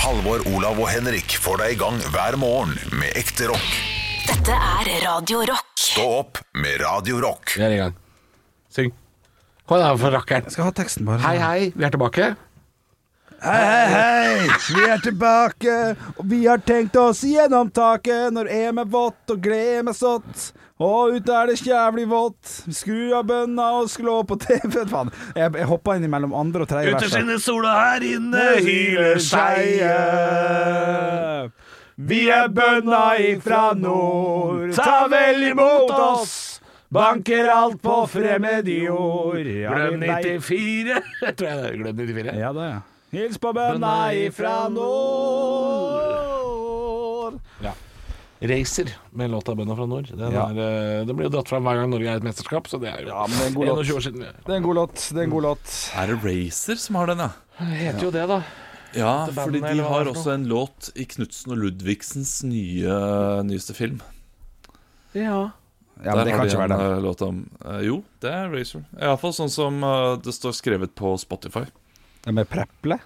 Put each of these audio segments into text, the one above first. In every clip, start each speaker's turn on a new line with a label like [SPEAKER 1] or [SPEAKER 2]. [SPEAKER 1] Halvor, Olav og Henrik får deg i gang hver morgen med ekte rock.
[SPEAKER 2] Dette er Radio Rock.
[SPEAKER 1] Stå opp med Radio Rock.
[SPEAKER 3] Vi er i gang. Syng. Hva er det her for rakkeren?
[SPEAKER 4] Skal ha teksten bare.
[SPEAKER 3] Hei, hei, vi er tilbake.
[SPEAKER 4] Hei, hei, hei! Vi er tilbake, og vi har tenkt oss gjennom taket når EM er vått og glem er sått. Og ute er det jævlig vått. Skru av bønna og slå på TV. Faen. Jeg, jeg hoppa inn mellom andre og tredje vers. her.
[SPEAKER 5] sola her inne
[SPEAKER 4] Vi er bønna ifra nord. Ta vel imot oss. Banker alt på fremmed jord. Ja, vi veit-
[SPEAKER 5] 94. Jeg tror jeg glem 94.
[SPEAKER 4] Ja, det er jeg. Hils på bønna ifra nord.
[SPEAKER 5] Racer med låta 'Bønda fra nord'. Den,
[SPEAKER 4] Ja.
[SPEAKER 5] er, eh, den blir jo dratt fram hør gang Norge er et mesterskap, så det er jo
[SPEAKER 4] Ja, men det er en god låt.
[SPEAKER 5] 21 år siden. Det
[SPEAKER 4] Det er en god låt. Det er en god låt.
[SPEAKER 6] Er det Racer som har den, ja?
[SPEAKER 5] heter jo det, da.
[SPEAKER 6] Ja,
[SPEAKER 5] bandet,
[SPEAKER 6] fordi de
[SPEAKER 5] eller hva
[SPEAKER 6] har
[SPEAKER 5] det er for
[SPEAKER 6] også en låt i Knutsen og Ludvigsens nye, nyeste film.
[SPEAKER 5] Ja.
[SPEAKER 4] Ja, men
[SPEAKER 6] Der
[SPEAKER 4] det kan
[SPEAKER 6] har de
[SPEAKER 4] ikke være
[SPEAKER 6] en
[SPEAKER 4] den.
[SPEAKER 6] eh, låt om eh, Jo, det er Racer. Iallfall sånn som eh, det står skrevet på Spotify.
[SPEAKER 4] Det er Med Preple?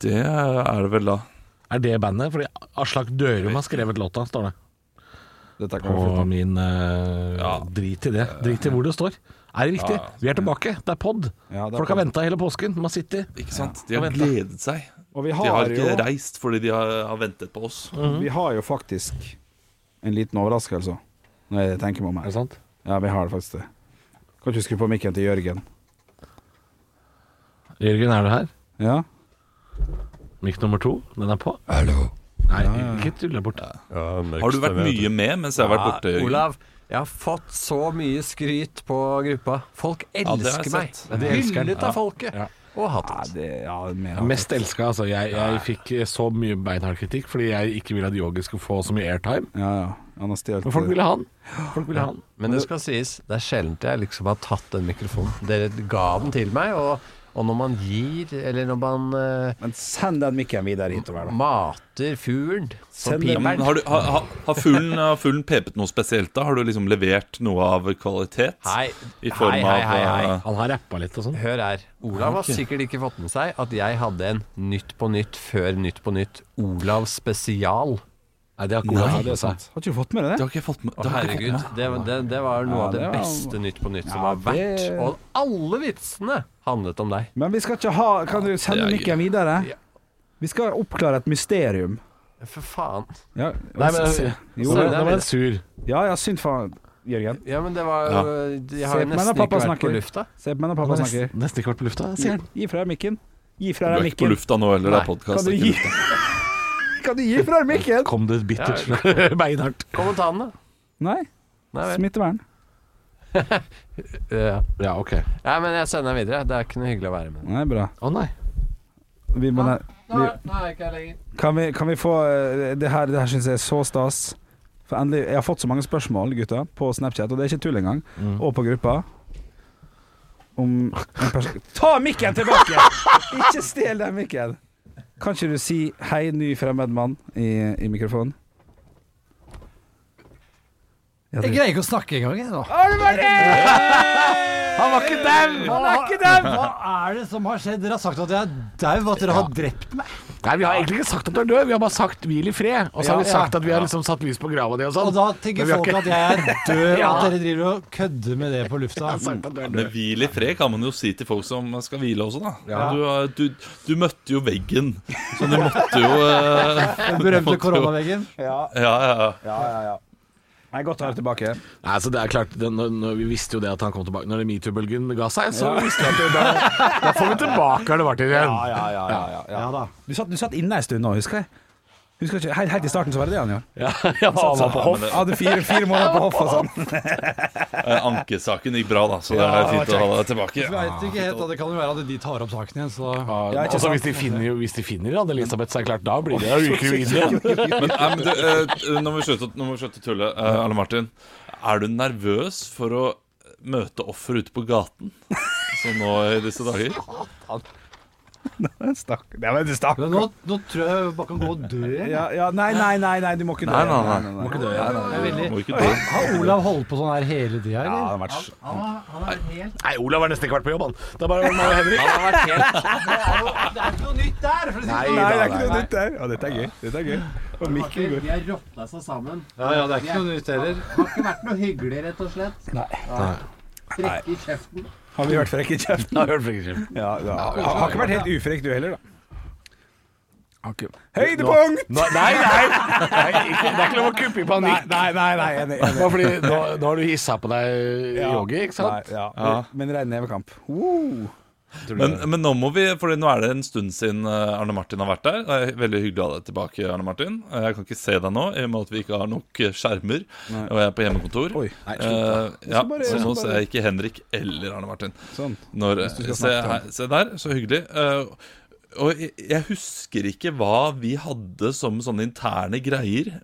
[SPEAKER 6] Det er det vel da.
[SPEAKER 5] Er det bandet? Fordi Aslak Dørum har skrevet låta, står det.
[SPEAKER 4] Dette kan vi
[SPEAKER 5] Og
[SPEAKER 4] flytte.
[SPEAKER 5] min eh, Drit i det. Drit i hvor det står. Er det viktig? Vi er tilbake. Det er pod.
[SPEAKER 4] Ja, det er
[SPEAKER 5] Folk
[SPEAKER 4] pod.
[SPEAKER 5] har venta hele påsken. Man sitter
[SPEAKER 6] Ikke sant? De har
[SPEAKER 5] vent da.
[SPEAKER 6] gledet seg.
[SPEAKER 4] Og vi
[SPEAKER 6] De har
[SPEAKER 4] har
[SPEAKER 6] ikke
[SPEAKER 4] jo,
[SPEAKER 6] reist fordi de har, har ventet på oss.
[SPEAKER 4] vi har jo faktisk en liten overraskelse, når jeg tenker meg om
[SPEAKER 5] Er det
[SPEAKER 4] her.
[SPEAKER 5] sant?
[SPEAKER 4] Ja, vi har det faktisk det. Kan ikke du skru på mikken til Jørgen?
[SPEAKER 5] Jørgen, er du her?
[SPEAKER 4] Ja?
[SPEAKER 5] Mikk nummer to, den er på. Nei, ikke tulle bort.
[SPEAKER 6] Har du vært mye med mens jeg har vært borte?
[SPEAKER 7] Ja,
[SPEAKER 6] Jørgen?
[SPEAKER 7] Olav, jeg har fått så mye skryt på gruppa. Folk
[SPEAKER 6] det har
[SPEAKER 7] elsker
[SPEAKER 6] jeg
[SPEAKER 7] meg.
[SPEAKER 6] sett.
[SPEAKER 7] De elsker litt av folket. Og hatet.
[SPEAKER 4] Det, ja, vi har-
[SPEAKER 5] Mest elska, altså. Jeg, jeg fikk eh, så mye beinhard kritikk fordi jeg ikke ville at Yogi skulle få så mye airtime.
[SPEAKER 4] Ja, ja. Han har stjålet
[SPEAKER 5] Men folk ville ha han. Folk ville ha han.
[SPEAKER 7] Men det skal sies, det er sjeldent jeg liksom har tatt den mikrofonen. Dere ga den til meg, og, og når man gir, eller når man eh,
[SPEAKER 4] Men send den mikken videre hitover, da.
[SPEAKER 7] mater fuglen på
[SPEAKER 4] Send den-
[SPEAKER 6] Ja, men
[SPEAKER 7] piperen
[SPEAKER 6] har, du, har, har- har, fuglen, har fuglen pepet noe spesielt da? Har du liksom levert noe av kvalitet?
[SPEAKER 7] Hei,
[SPEAKER 6] I form
[SPEAKER 7] hei, hei, hei,
[SPEAKER 6] av,
[SPEAKER 7] hei.
[SPEAKER 6] eh,
[SPEAKER 5] Han har rappa litt og sånn.
[SPEAKER 7] Hør her. Olav har sikkert ikke fått med seg at jeg hadde en Nytt på nytt før Nytt på nytt. Olav spesial.
[SPEAKER 5] Nei, det har ikke Olav
[SPEAKER 4] Ja, det er
[SPEAKER 5] fått.
[SPEAKER 4] sant. Har ikke du fått med deg
[SPEAKER 6] Det
[SPEAKER 4] det?
[SPEAKER 6] har ikke jeg fått med.
[SPEAKER 7] Å,
[SPEAKER 6] Det har jeg ikke
[SPEAKER 7] herregud, det, det, det var noe
[SPEAKER 4] Ja,
[SPEAKER 7] av det,
[SPEAKER 4] det var-
[SPEAKER 7] beste Nytt på Nytt som
[SPEAKER 4] Ja,
[SPEAKER 7] har vært.
[SPEAKER 4] det-
[SPEAKER 7] Og alle vitsene handlet om deg.
[SPEAKER 4] Men vi skal ikke ha Kan du sende
[SPEAKER 6] det er
[SPEAKER 4] mikken videre? Vi skal oppklare et mysterium.
[SPEAKER 7] For faen.
[SPEAKER 4] Ja,
[SPEAKER 5] Nei, men
[SPEAKER 4] se-
[SPEAKER 5] Nå
[SPEAKER 4] jo,
[SPEAKER 5] ble-
[SPEAKER 7] øh, det er
[SPEAKER 5] nå ble
[SPEAKER 7] det.
[SPEAKER 5] han sur.
[SPEAKER 4] ja, ja, synd faen Jørgen.
[SPEAKER 7] Ja, men det var
[SPEAKER 6] Ja.
[SPEAKER 7] Jeg har
[SPEAKER 4] Se på meg
[SPEAKER 7] jo nesten
[SPEAKER 4] når
[SPEAKER 7] ikke
[SPEAKER 4] pappa
[SPEAKER 7] vært
[SPEAKER 4] snakker.
[SPEAKER 7] på lufta.
[SPEAKER 4] Se på meg når
[SPEAKER 5] Han
[SPEAKER 4] pappa
[SPEAKER 5] har nesten-
[SPEAKER 4] snakker.
[SPEAKER 5] Nesten ikke vært på lufta, sier han.
[SPEAKER 4] Gi fra deg mikken. Gi fra deg
[SPEAKER 6] Du er ikke på
[SPEAKER 4] mikken.
[SPEAKER 6] lufta nå heller, det er
[SPEAKER 7] Nei,
[SPEAKER 4] Kan
[SPEAKER 6] podkast.
[SPEAKER 4] du gi Kan du gi fra deg mikken?
[SPEAKER 5] Kom det et bittert beinhardt.
[SPEAKER 7] Kommentarene.
[SPEAKER 4] Nei.
[SPEAKER 7] Nei vel.
[SPEAKER 4] Smittevern.
[SPEAKER 7] Ja.
[SPEAKER 5] Ja, ok. Å
[SPEAKER 7] ja, men jeg sender den videre. Det er ikke noe hyggelig å være med.
[SPEAKER 4] Nei, bra.
[SPEAKER 5] nei.
[SPEAKER 4] Vi må ne- vi,
[SPEAKER 7] nå er jeg ikke her lenger.
[SPEAKER 4] kan, vi, kan vi få eh, Det her, det her syns jeg er så stas. For endelig, Jeg har fått så mange spørsmål gutta, på Snapchat, og det er ikke tull engang, og på gruppa. Om en pers Ta mikken tilbake! Ikke stjel den mikken! Kan ikke du si 'hei, ny fremmed mann' i, i mikrofonen? Ja, det-
[SPEAKER 7] greier ikke å snakke engang, jeg nå.
[SPEAKER 4] Han var ikke dau! Han er ikke dau!
[SPEAKER 8] Hva er det som har skjedd? Dere har sagt at jeg er dau, at dere har drept meg.
[SPEAKER 5] Nei, Vi har egentlig ikke sagt at du er død, vi har bare sagt 'hvil i fred'. Og så har
[SPEAKER 8] Ja,
[SPEAKER 5] vi sagt
[SPEAKER 8] ja.
[SPEAKER 5] at vi har liksom satt lys på grava di og sånn.
[SPEAKER 8] Og da
[SPEAKER 5] Men
[SPEAKER 8] tenker
[SPEAKER 5] vi har
[SPEAKER 8] folk
[SPEAKER 5] ikke-
[SPEAKER 8] at jeg er død, og at dere driver og kødder med det på lufta.
[SPEAKER 6] Men hvil i fred kan man jo si til folk som skal hvile også, da. Du, har- du, du møtte jo veggen, så du måtte jo eh,
[SPEAKER 8] Den berømte koronaveggen.
[SPEAKER 6] Ja, ja. ja.
[SPEAKER 4] Nei, godt å ha deg tilbake.
[SPEAKER 5] Nei, altså det er klart, det, når, når Vi visste jo det at han kom tilbake Når det metoo-bølgen ga seg, så visste vi at det, da, da får vi tilbake her det var til igjen.
[SPEAKER 8] Ja da.
[SPEAKER 4] Du satt, du satt inne en stund nå, husker jeg. Husker ikke, helt, helt i starten så var det det han gjorde.
[SPEAKER 5] Ja, ja, han var på hoff.
[SPEAKER 4] Jeg hadde fire, fire måneder på hoff og sånn.
[SPEAKER 6] Eh, Ankesaken gikk bra, da, så det er fint å ha deg tilbake.
[SPEAKER 8] Jeg vet ikke helt, da. Det kan jo være at de tar opp saken igjen, så
[SPEAKER 4] Ja, ikke
[SPEAKER 5] Altså,
[SPEAKER 4] sant.
[SPEAKER 5] hvis de finner, hvis de finner Anne-Elisabeth, så er det klart, da blir det Da ryker vi inn igjen.
[SPEAKER 6] Men, nei, men du, eh, nå må vi slutte nå må vi slutte å tulle, eh, Arne Martin. Er du nervøs for å møte offer ute på gaten? Sånn nå i disse dager?
[SPEAKER 4] Stakk. Ja, men du stakk.
[SPEAKER 8] Men nå, nå tror jeg jeg bare kan gå og dø.
[SPEAKER 4] Ja, ja, nei, nei, nei, nei, du må ikke dø.
[SPEAKER 6] Nei, nei, nei.
[SPEAKER 4] Må ikke dø.
[SPEAKER 8] Jeg er veldig-
[SPEAKER 6] Må ikke dø.
[SPEAKER 8] Har Olav holdt på sånn her hele tida,
[SPEAKER 4] Ja, det
[SPEAKER 8] eller?
[SPEAKER 4] har vært s-
[SPEAKER 5] Nei, Olav har nesten ikke vært på jobb, han. Det er bare meg og Henrik.
[SPEAKER 7] Han har vært helt
[SPEAKER 8] Det er ikke noe nytt. nytt der! For å si det
[SPEAKER 7] Nei,
[SPEAKER 8] sånn.
[SPEAKER 4] Nei, det
[SPEAKER 7] da,
[SPEAKER 4] er ikke noe
[SPEAKER 7] nei.
[SPEAKER 4] nytt der. Ja, dette er gøy. Dette er gøy. Og Mikkel går.
[SPEAKER 8] De har rotta seg sammen.
[SPEAKER 7] Ja, ja, det er ikke noe nytt heller.
[SPEAKER 8] Det har ikke vært noe hyggelig, rett og slett.
[SPEAKER 4] Nei.
[SPEAKER 8] Trekke i kjeften.
[SPEAKER 4] Har vi vært frekke i kjeften?
[SPEAKER 5] Har hørt flere kjeft.
[SPEAKER 4] Ja, ja. Har, har ikke vært helt ufrekk du heller, da. Har ikke- Høydepunkt!
[SPEAKER 5] Nå- Nei, nei! nei ikke, det er ikke lov å kuppe i panikk.
[SPEAKER 4] Nei, nei, nei, enig. enig.
[SPEAKER 5] Bare fordi nå, nå har du hissa på deg
[SPEAKER 4] Ja.
[SPEAKER 5] yogi, ikke sant?
[SPEAKER 4] Nei, ja. Men- Men rein nevekamp. Woo.
[SPEAKER 6] Men, men nå må vi, for nå er det en stund siden eh, Arne Martin har vært der. Det er veldig hyggelig å ha deg tilbake, Arne Martin. Eh, Jeg kan ikke se deg nå, i og med at vi ikke har nok eh, skjermer. Og jeg er på hjemmekontor.
[SPEAKER 4] Oi.
[SPEAKER 6] Eh, ja,
[SPEAKER 4] bare- jeg skal
[SPEAKER 6] så
[SPEAKER 4] bare-
[SPEAKER 6] nå ser jeg ikke Henrik eller Arne Martin.
[SPEAKER 4] Sånn.
[SPEAKER 6] Når, eh,
[SPEAKER 4] Hvis du skal
[SPEAKER 6] se,
[SPEAKER 4] snakke til
[SPEAKER 6] her, se der, så hyggelig. Eh, og jeg, jeg husker ikke hva vi hadde som sånne interne greier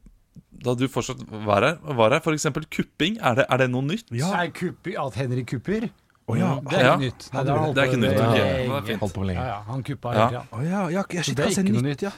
[SPEAKER 6] da du fortsatt var her. Var her. For eksempel kupping. Er det, er det noe nytt?
[SPEAKER 8] Er Kuppi- at Henrik kupper?
[SPEAKER 4] Å ja.
[SPEAKER 8] Det er
[SPEAKER 6] Ja.
[SPEAKER 8] ikke nytt. Nei, har han
[SPEAKER 6] Det er ikke nytt.
[SPEAKER 8] holdt på med
[SPEAKER 6] ok.
[SPEAKER 8] lenge.
[SPEAKER 6] Det var fint.
[SPEAKER 5] Holdt på med
[SPEAKER 8] Ja,
[SPEAKER 5] lenge.
[SPEAKER 8] ja, han kuppa
[SPEAKER 6] Ja.
[SPEAKER 8] hele tida.
[SPEAKER 4] Å ja, ja, ja, shit,
[SPEAKER 8] det er
[SPEAKER 4] altså,
[SPEAKER 8] ikke noe
[SPEAKER 4] nytt, ja.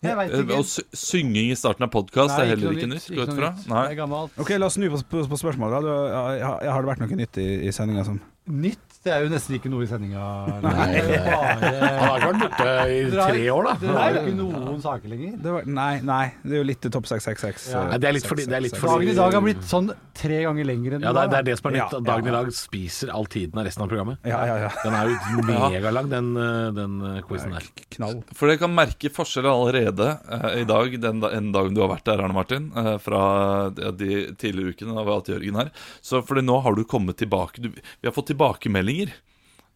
[SPEAKER 8] Jeg veit
[SPEAKER 6] Eh,
[SPEAKER 8] ikke.
[SPEAKER 6] Og sy- synging i starten av podkast
[SPEAKER 8] Nei,
[SPEAKER 6] er heller ikke nytt. Går jeg ut
[SPEAKER 8] noe
[SPEAKER 6] fra?
[SPEAKER 8] nytt.
[SPEAKER 6] Nei.
[SPEAKER 8] Det er gammelt.
[SPEAKER 4] Ok, La oss snu på, på, på spørsmålet. da. Du, ja, ja, ja, har det vært noe nytt i, i sendinga? Sånn?
[SPEAKER 8] Nytt? Det er jo nesten ikke noe i sendinga. Nei, det er bare-
[SPEAKER 5] Han har ikke vært borte i tre år, da.
[SPEAKER 8] Det er jo ikke noen saker lenger.
[SPEAKER 4] Det var, nei, nei, det er jo litt Topp 666.
[SPEAKER 8] Ja.
[SPEAKER 4] eh,
[SPEAKER 5] Nei, det er litt fordi- det er litt
[SPEAKER 4] 666.
[SPEAKER 5] fordi-
[SPEAKER 8] Dagen i dag har blitt sånn tre ganger lenger enn
[SPEAKER 5] Ja, det er, det er det som er
[SPEAKER 4] Ja,
[SPEAKER 5] nytt. at Dagen i
[SPEAKER 4] ja, ja.
[SPEAKER 5] dag spiser all tiden av resten av programmet.
[SPEAKER 4] Ja, ja, ja.
[SPEAKER 5] Den er jo megalang, den, eh, den eh, quizen der.
[SPEAKER 4] Knall.
[SPEAKER 6] For dere kan merke forskjeller allerede eh, i dag, den, da, den dagen du har vært der, Arne Martin, eh, fra de, de tidligere ukene da vi har hatt Jørgen her. Så fordi nå har du kommet tilbake du, Vi har fått tilbakemeldinger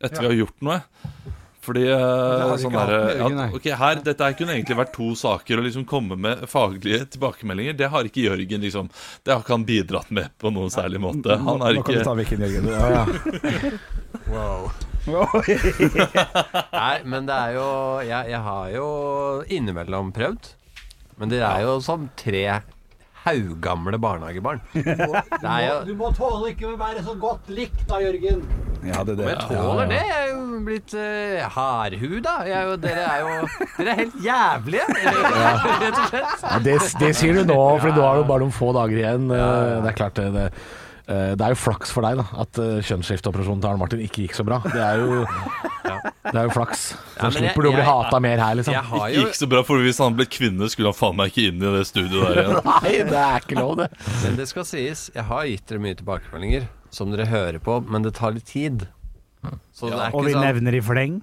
[SPEAKER 6] etter vi har gjort noe. Fordi eh,
[SPEAKER 8] har vi
[SPEAKER 6] sånn
[SPEAKER 8] ikke
[SPEAKER 6] der,
[SPEAKER 8] hatt med Jørgen,
[SPEAKER 6] at,
[SPEAKER 8] nei.
[SPEAKER 6] Ok, her, Dette her kunne egentlig vært to saker å liksom komme med faglige tilbakemeldinger. Det har ikke Jørgen liksom Det har ikke han bidratt med på noen særlig måte.
[SPEAKER 4] Nå,
[SPEAKER 6] Han har
[SPEAKER 4] nå kan du
[SPEAKER 6] ikke
[SPEAKER 4] ta Viken, Jørgen. Ja, ja.
[SPEAKER 7] Nei, men det er jo Jeg, jeg har jo innimellom prøvd. Men dere er jo som tre haugamle barnehagebarn. Det er jo
[SPEAKER 8] Du må tåle ikke å være så godt likt da, Jørgen.
[SPEAKER 4] ja, det er
[SPEAKER 7] Men
[SPEAKER 4] det.
[SPEAKER 7] jeg tåler det. Jeg er jo blitt uh, hardhuda. Jeg er jo, dere er jo Dere er helt jævlige, rett og slett.
[SPEAKER 5] Ja, det, det sier du nå, for nå har du bare noen få dager igjen. Eh, Det er klart det, det, eh, det er jo flaks for deg da, at eh, kjønnsskifteoperasjonen til Arne Martin ikke gikk så bra. Det er jo, det er jo flaks. Så
[SPEAKER 7] Ja, men jeg-
[SPEAKER 5] slipper du å bli
[SPEAKER 7] jeg-
[SPEAKER 5] hata mer her, liksom.
[SPEAKER 7] Jeg har
[SPEAKER 6] Det
[SPEAKER 7] jo
[SPEAKER 6] gikk så bra, for hvis han ble kvinne, skulle han faen meg ikke inn i det studioet der igjen.
[SPEAKER 5] Nei, det er ikke lov, det.
[SPEAKER 7] Men det skal sies, jeg har gitt dere mye tilbakemeldinger som dere hører på, men det tar litt tid. Så det er
[SPEAKER 4] Og vi
[SPEAKER 7] ikke sånn
[SPEAKER 4] nevner i fleng.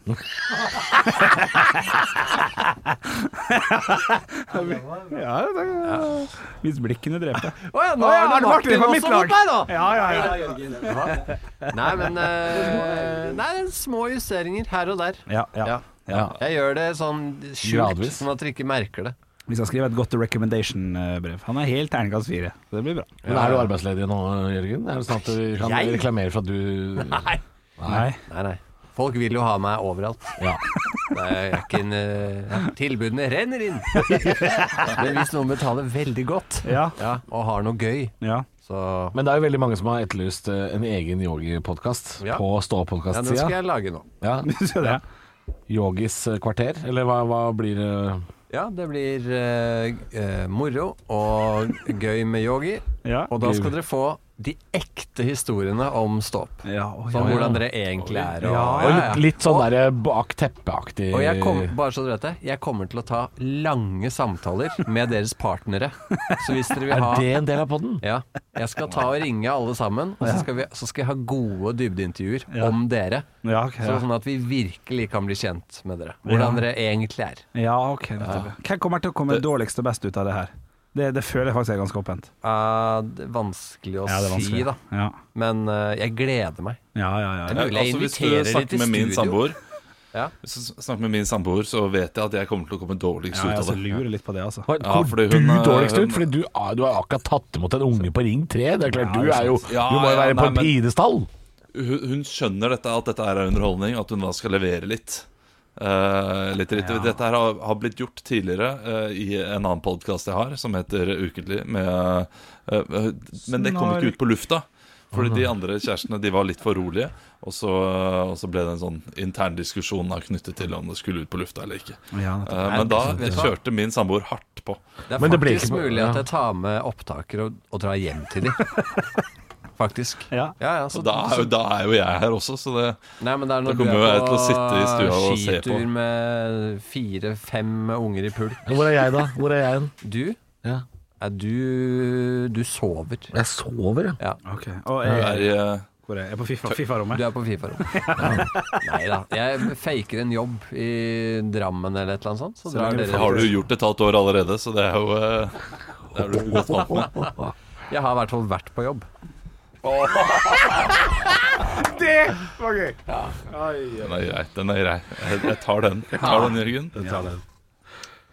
[SPEAKER 4] ja, det er, hvis blikkene dreper.
[SPEAKER 7] Å ja, nå
[SPEAKER 4] Å ja,
[SPEAKER 7] er det Martin
[SPEAKER 4] på
[SPEAKER 7] også
[SPEAKER 4] mitt
[SPEAKER 7] mot meg,
[SPEAKER 4] lag.
[SPEAKER 7] da!
[SPEAKER 4] Ja, ja, ja.
[SPEAKER 7] Nei, men eh, Nei, det er små justeringer her og der.
[SPEAKER 4] ja, ja.
[SPEAKER 7] Ja. Jeg gjør det sånn skjult,
[SPEAKER 5] Gradvis.
[SPEAKER 7] sånn at dere ikke merker det.
[SPEAKER 4] Vi skal skrive et godt recommendation-brev. Han er helt terningkast fire. Det blir bra.
[SPEAKER 5] Men er du arbeidsledig nå, Jørgen? Er det sånn at vi kan
[SPEAKER 7] Jeg?
[SPEAKER 5] reklamere for at du Nei.
[SPEAKER 4] Nei.
[SPEAKER 7] Nei, nei. Folk vil jo ha meg overalt.
[SPEAKER 5] Ja.
[SPEAKER 7] Det er ikke en, eh, ja, tilbudene renner inn. Men hvis noen betaler veldig godt
[SPEAKER 4] Ja.
[SPEAKER 7] ja, og har noe gøy,
[SPEAKER 4] ja.
[SPEAKER 7] så
[SPEAKER 5] Men det er jo veldig mange som har etterlyst eh, en egen yogipodkast
[SPEAKER 7] Ja.
[SPEAKER 5] på
[SPEAKER 7] ja, den skal
[SPEAKER 5] Stå-podkast-sida.
[SPEAKER 7] jeg lage nå.
[SPEAKER 5] Ja,
[SPEAKER 4] Så det.
[SPEAKER 5] Yogis eh, kvarter, eller hva, hva blir det?
[SPEAKER 7] Ja, det blir eh, eh, moro og gøy med yogi.
[SPEAKER 4] Ja.
[SPEAKER 7] Og da skal dere få de ekte historiene om ståp.
[SPEAKER 4] Ja, å, ja.
[SPEAKER 7] Sånn hvordan dere egentlig er. Og,
[SPEAKER 5] Og litt, litt sånn derre bak teppet-aktig
[SPEAKER 7] Og jeg kom, bare så dere vet det, jeg kommer til å ta lange samtaler med deres partnere. Så hvis dere vil
[SPEAKER 5] Er
[SPEAKER 7] ha
[SPEAKER 5] det en del av podden?
[SPEAKER 7] Ja. Jeg skal ta og ringe alle sammen, og så skal, vi, så skal jeg ha gode dybdeintervjuer om dere.
[SPEAKER 4] Ja, ok,
[SPEAKER 7] Så,
[SPEAKER 4] ja.
[SPEAKER 7] sånn at vi virkelig kan bli kjent med dere. Hvordan
[SPEAKER 4] Ja.
[SPEAKER 7] dere egentlig er.
[SPEAKER 4] ja ok. nettopp. Hvem kommer til å komme dårligst og best ut av det her? Det, det føler jeg faktisk er ganske åpent.
[SPEAKER 7] Eh, det er vanskelig å
[SPEAKER 4] Ja, det er
[SPEAKER 7] si,
[SPEAKER 4] vanskelig.
[SPEAKER 7] da.
[SPEAKER 4] Ja,
[SPEAKER 7] Men eh, jeg gleder meg.
[SPEAKER 4] ja, ja. ja, ja.
[SPEAKER 7] Det er mulig jeg
[SPEAKER 6] altså, hvis du
[SPEAKER 7] inviterer de
[SPEAKER 6] snakker
[SPEAKER 7] til
[SPEAKER 6] med min
[SPEAKER 7] studio.
[SPEAKER 6] samboer
[SPEAKER 7] Ja.
[SPEAKER 6] Hvis du snakker med min samboer, så vet jeg at jeg kommer til å komme dårligst
[SPEAKER 4] ja jeg
[SPEAKER 6] ut
[SPEAKER 4] altså,
[SPEAKER 6] av det.
[SPEAKER 4] lurer litt på det, altså.
[SPEAKER 5] Hvor
[SPEAKER 6] Ja,
[SPEAKER 5] hvor
[SPEAKER 6] fordi
[SPEAKER 5] du
[SPEAKER 6] hun, eh,
[SPEAKER 5] dårligst ut?
[SPEAKER 6] hun-
[SPEAKER 5] Fordi du, er- du har akkurat tatt imot en unge på Ring 3. Det er klart, du er jo
[SPEAKER 6] Ja,
[SPEAKER 5] Du må jo
[SPEAKER 6] ja,
[SPEAKER 5] være på
[SPEAKER 6] nei,
[SPEAKER 5] en
[SPEAKER 6] men-
[SPEAKER 5] pidestall.
[SPEAKER 6] Hun, hun skjønner dette, at dette er underholdning, at hun da skal levere litt. Eh, litt dritt. Dette her har, har blitt gjort tidligere eh, i en annen podkast jeg har, som heter Ukentlig. Med, eh, eh, men det kom ikke ut på lufta. Fordi de andre kjærestene de var litt for rolige. Og så, og så ble det en sånn intern diskusjon da knyttet til om det skulle ut på lufta eller ikke.
[SPEAKER 4] Ja, nettopp.
[SPEAKER 6] Eh, men da
[SPEAKER 7] Vet du hva?
[SPEAKER 6] kjørte min samboer hardt på.
[SPEAKER 7] Det er
[SPEAKER 5] Men det blir
[SPEAKER 7] faktisk
[SPEAKER 5] ikke på-
[SPEAKER 7] mulig at
[SPEAKER 5] ja.
[SPEAKER 7] jeg tar med opptaker og, og drar hjem til dem. faktisk.
[SPEAKER 4] Ja.
[SPEAKER 7] ja, ja, så,
[SPEAKER 6] Og da er, jo, da er jo jeg her også, så det
[SPEAKER 7] Nei, men det er når
[SPEAKER 6] Da kommer
[SPEAKER 7] du er
[SPEAKER 6] jeg til å sitte i stua og se på.
[SPEAKER 7] skitur med fire-fem unger i pulk.
[SPEAKER 5] Hvor er jeg, da? Hvor er jeg hen?
[SPEAKER 7] Du,
[SPEAKER 5] Ja.
[SPEAKER 7] er du Du sover.
[SPEAKER 5] Jeg sover, ja.
[SPEAKER 4] Ok, Og
[SPEAKER 6] Du
[SPEAKER 4] jeg,
[SPEAKER 6] er i eh,
[SPEAKER 4] hvor er jeg? jeg er på FIFA- Fifa-rommet.
[SPEAKER 7] Du er på Fifa-rommet. Nei da. Jeg faker en jobb i Drammen eller et eller annet sånt. Så drar
[SPEAKER 4] lenge du
[SPEAKER 7] dere
[SPEAKER 6] Det har du jo gjort et halvt år allerede, så det er jo eh, Det er du godt vant med.
[SPEAKER 7] Jeg har i hvert fall vært på jobb.
[SPEAKER 6] Den er grei. den er grei Jeg jeg tar den, jeg tar den Jørgen.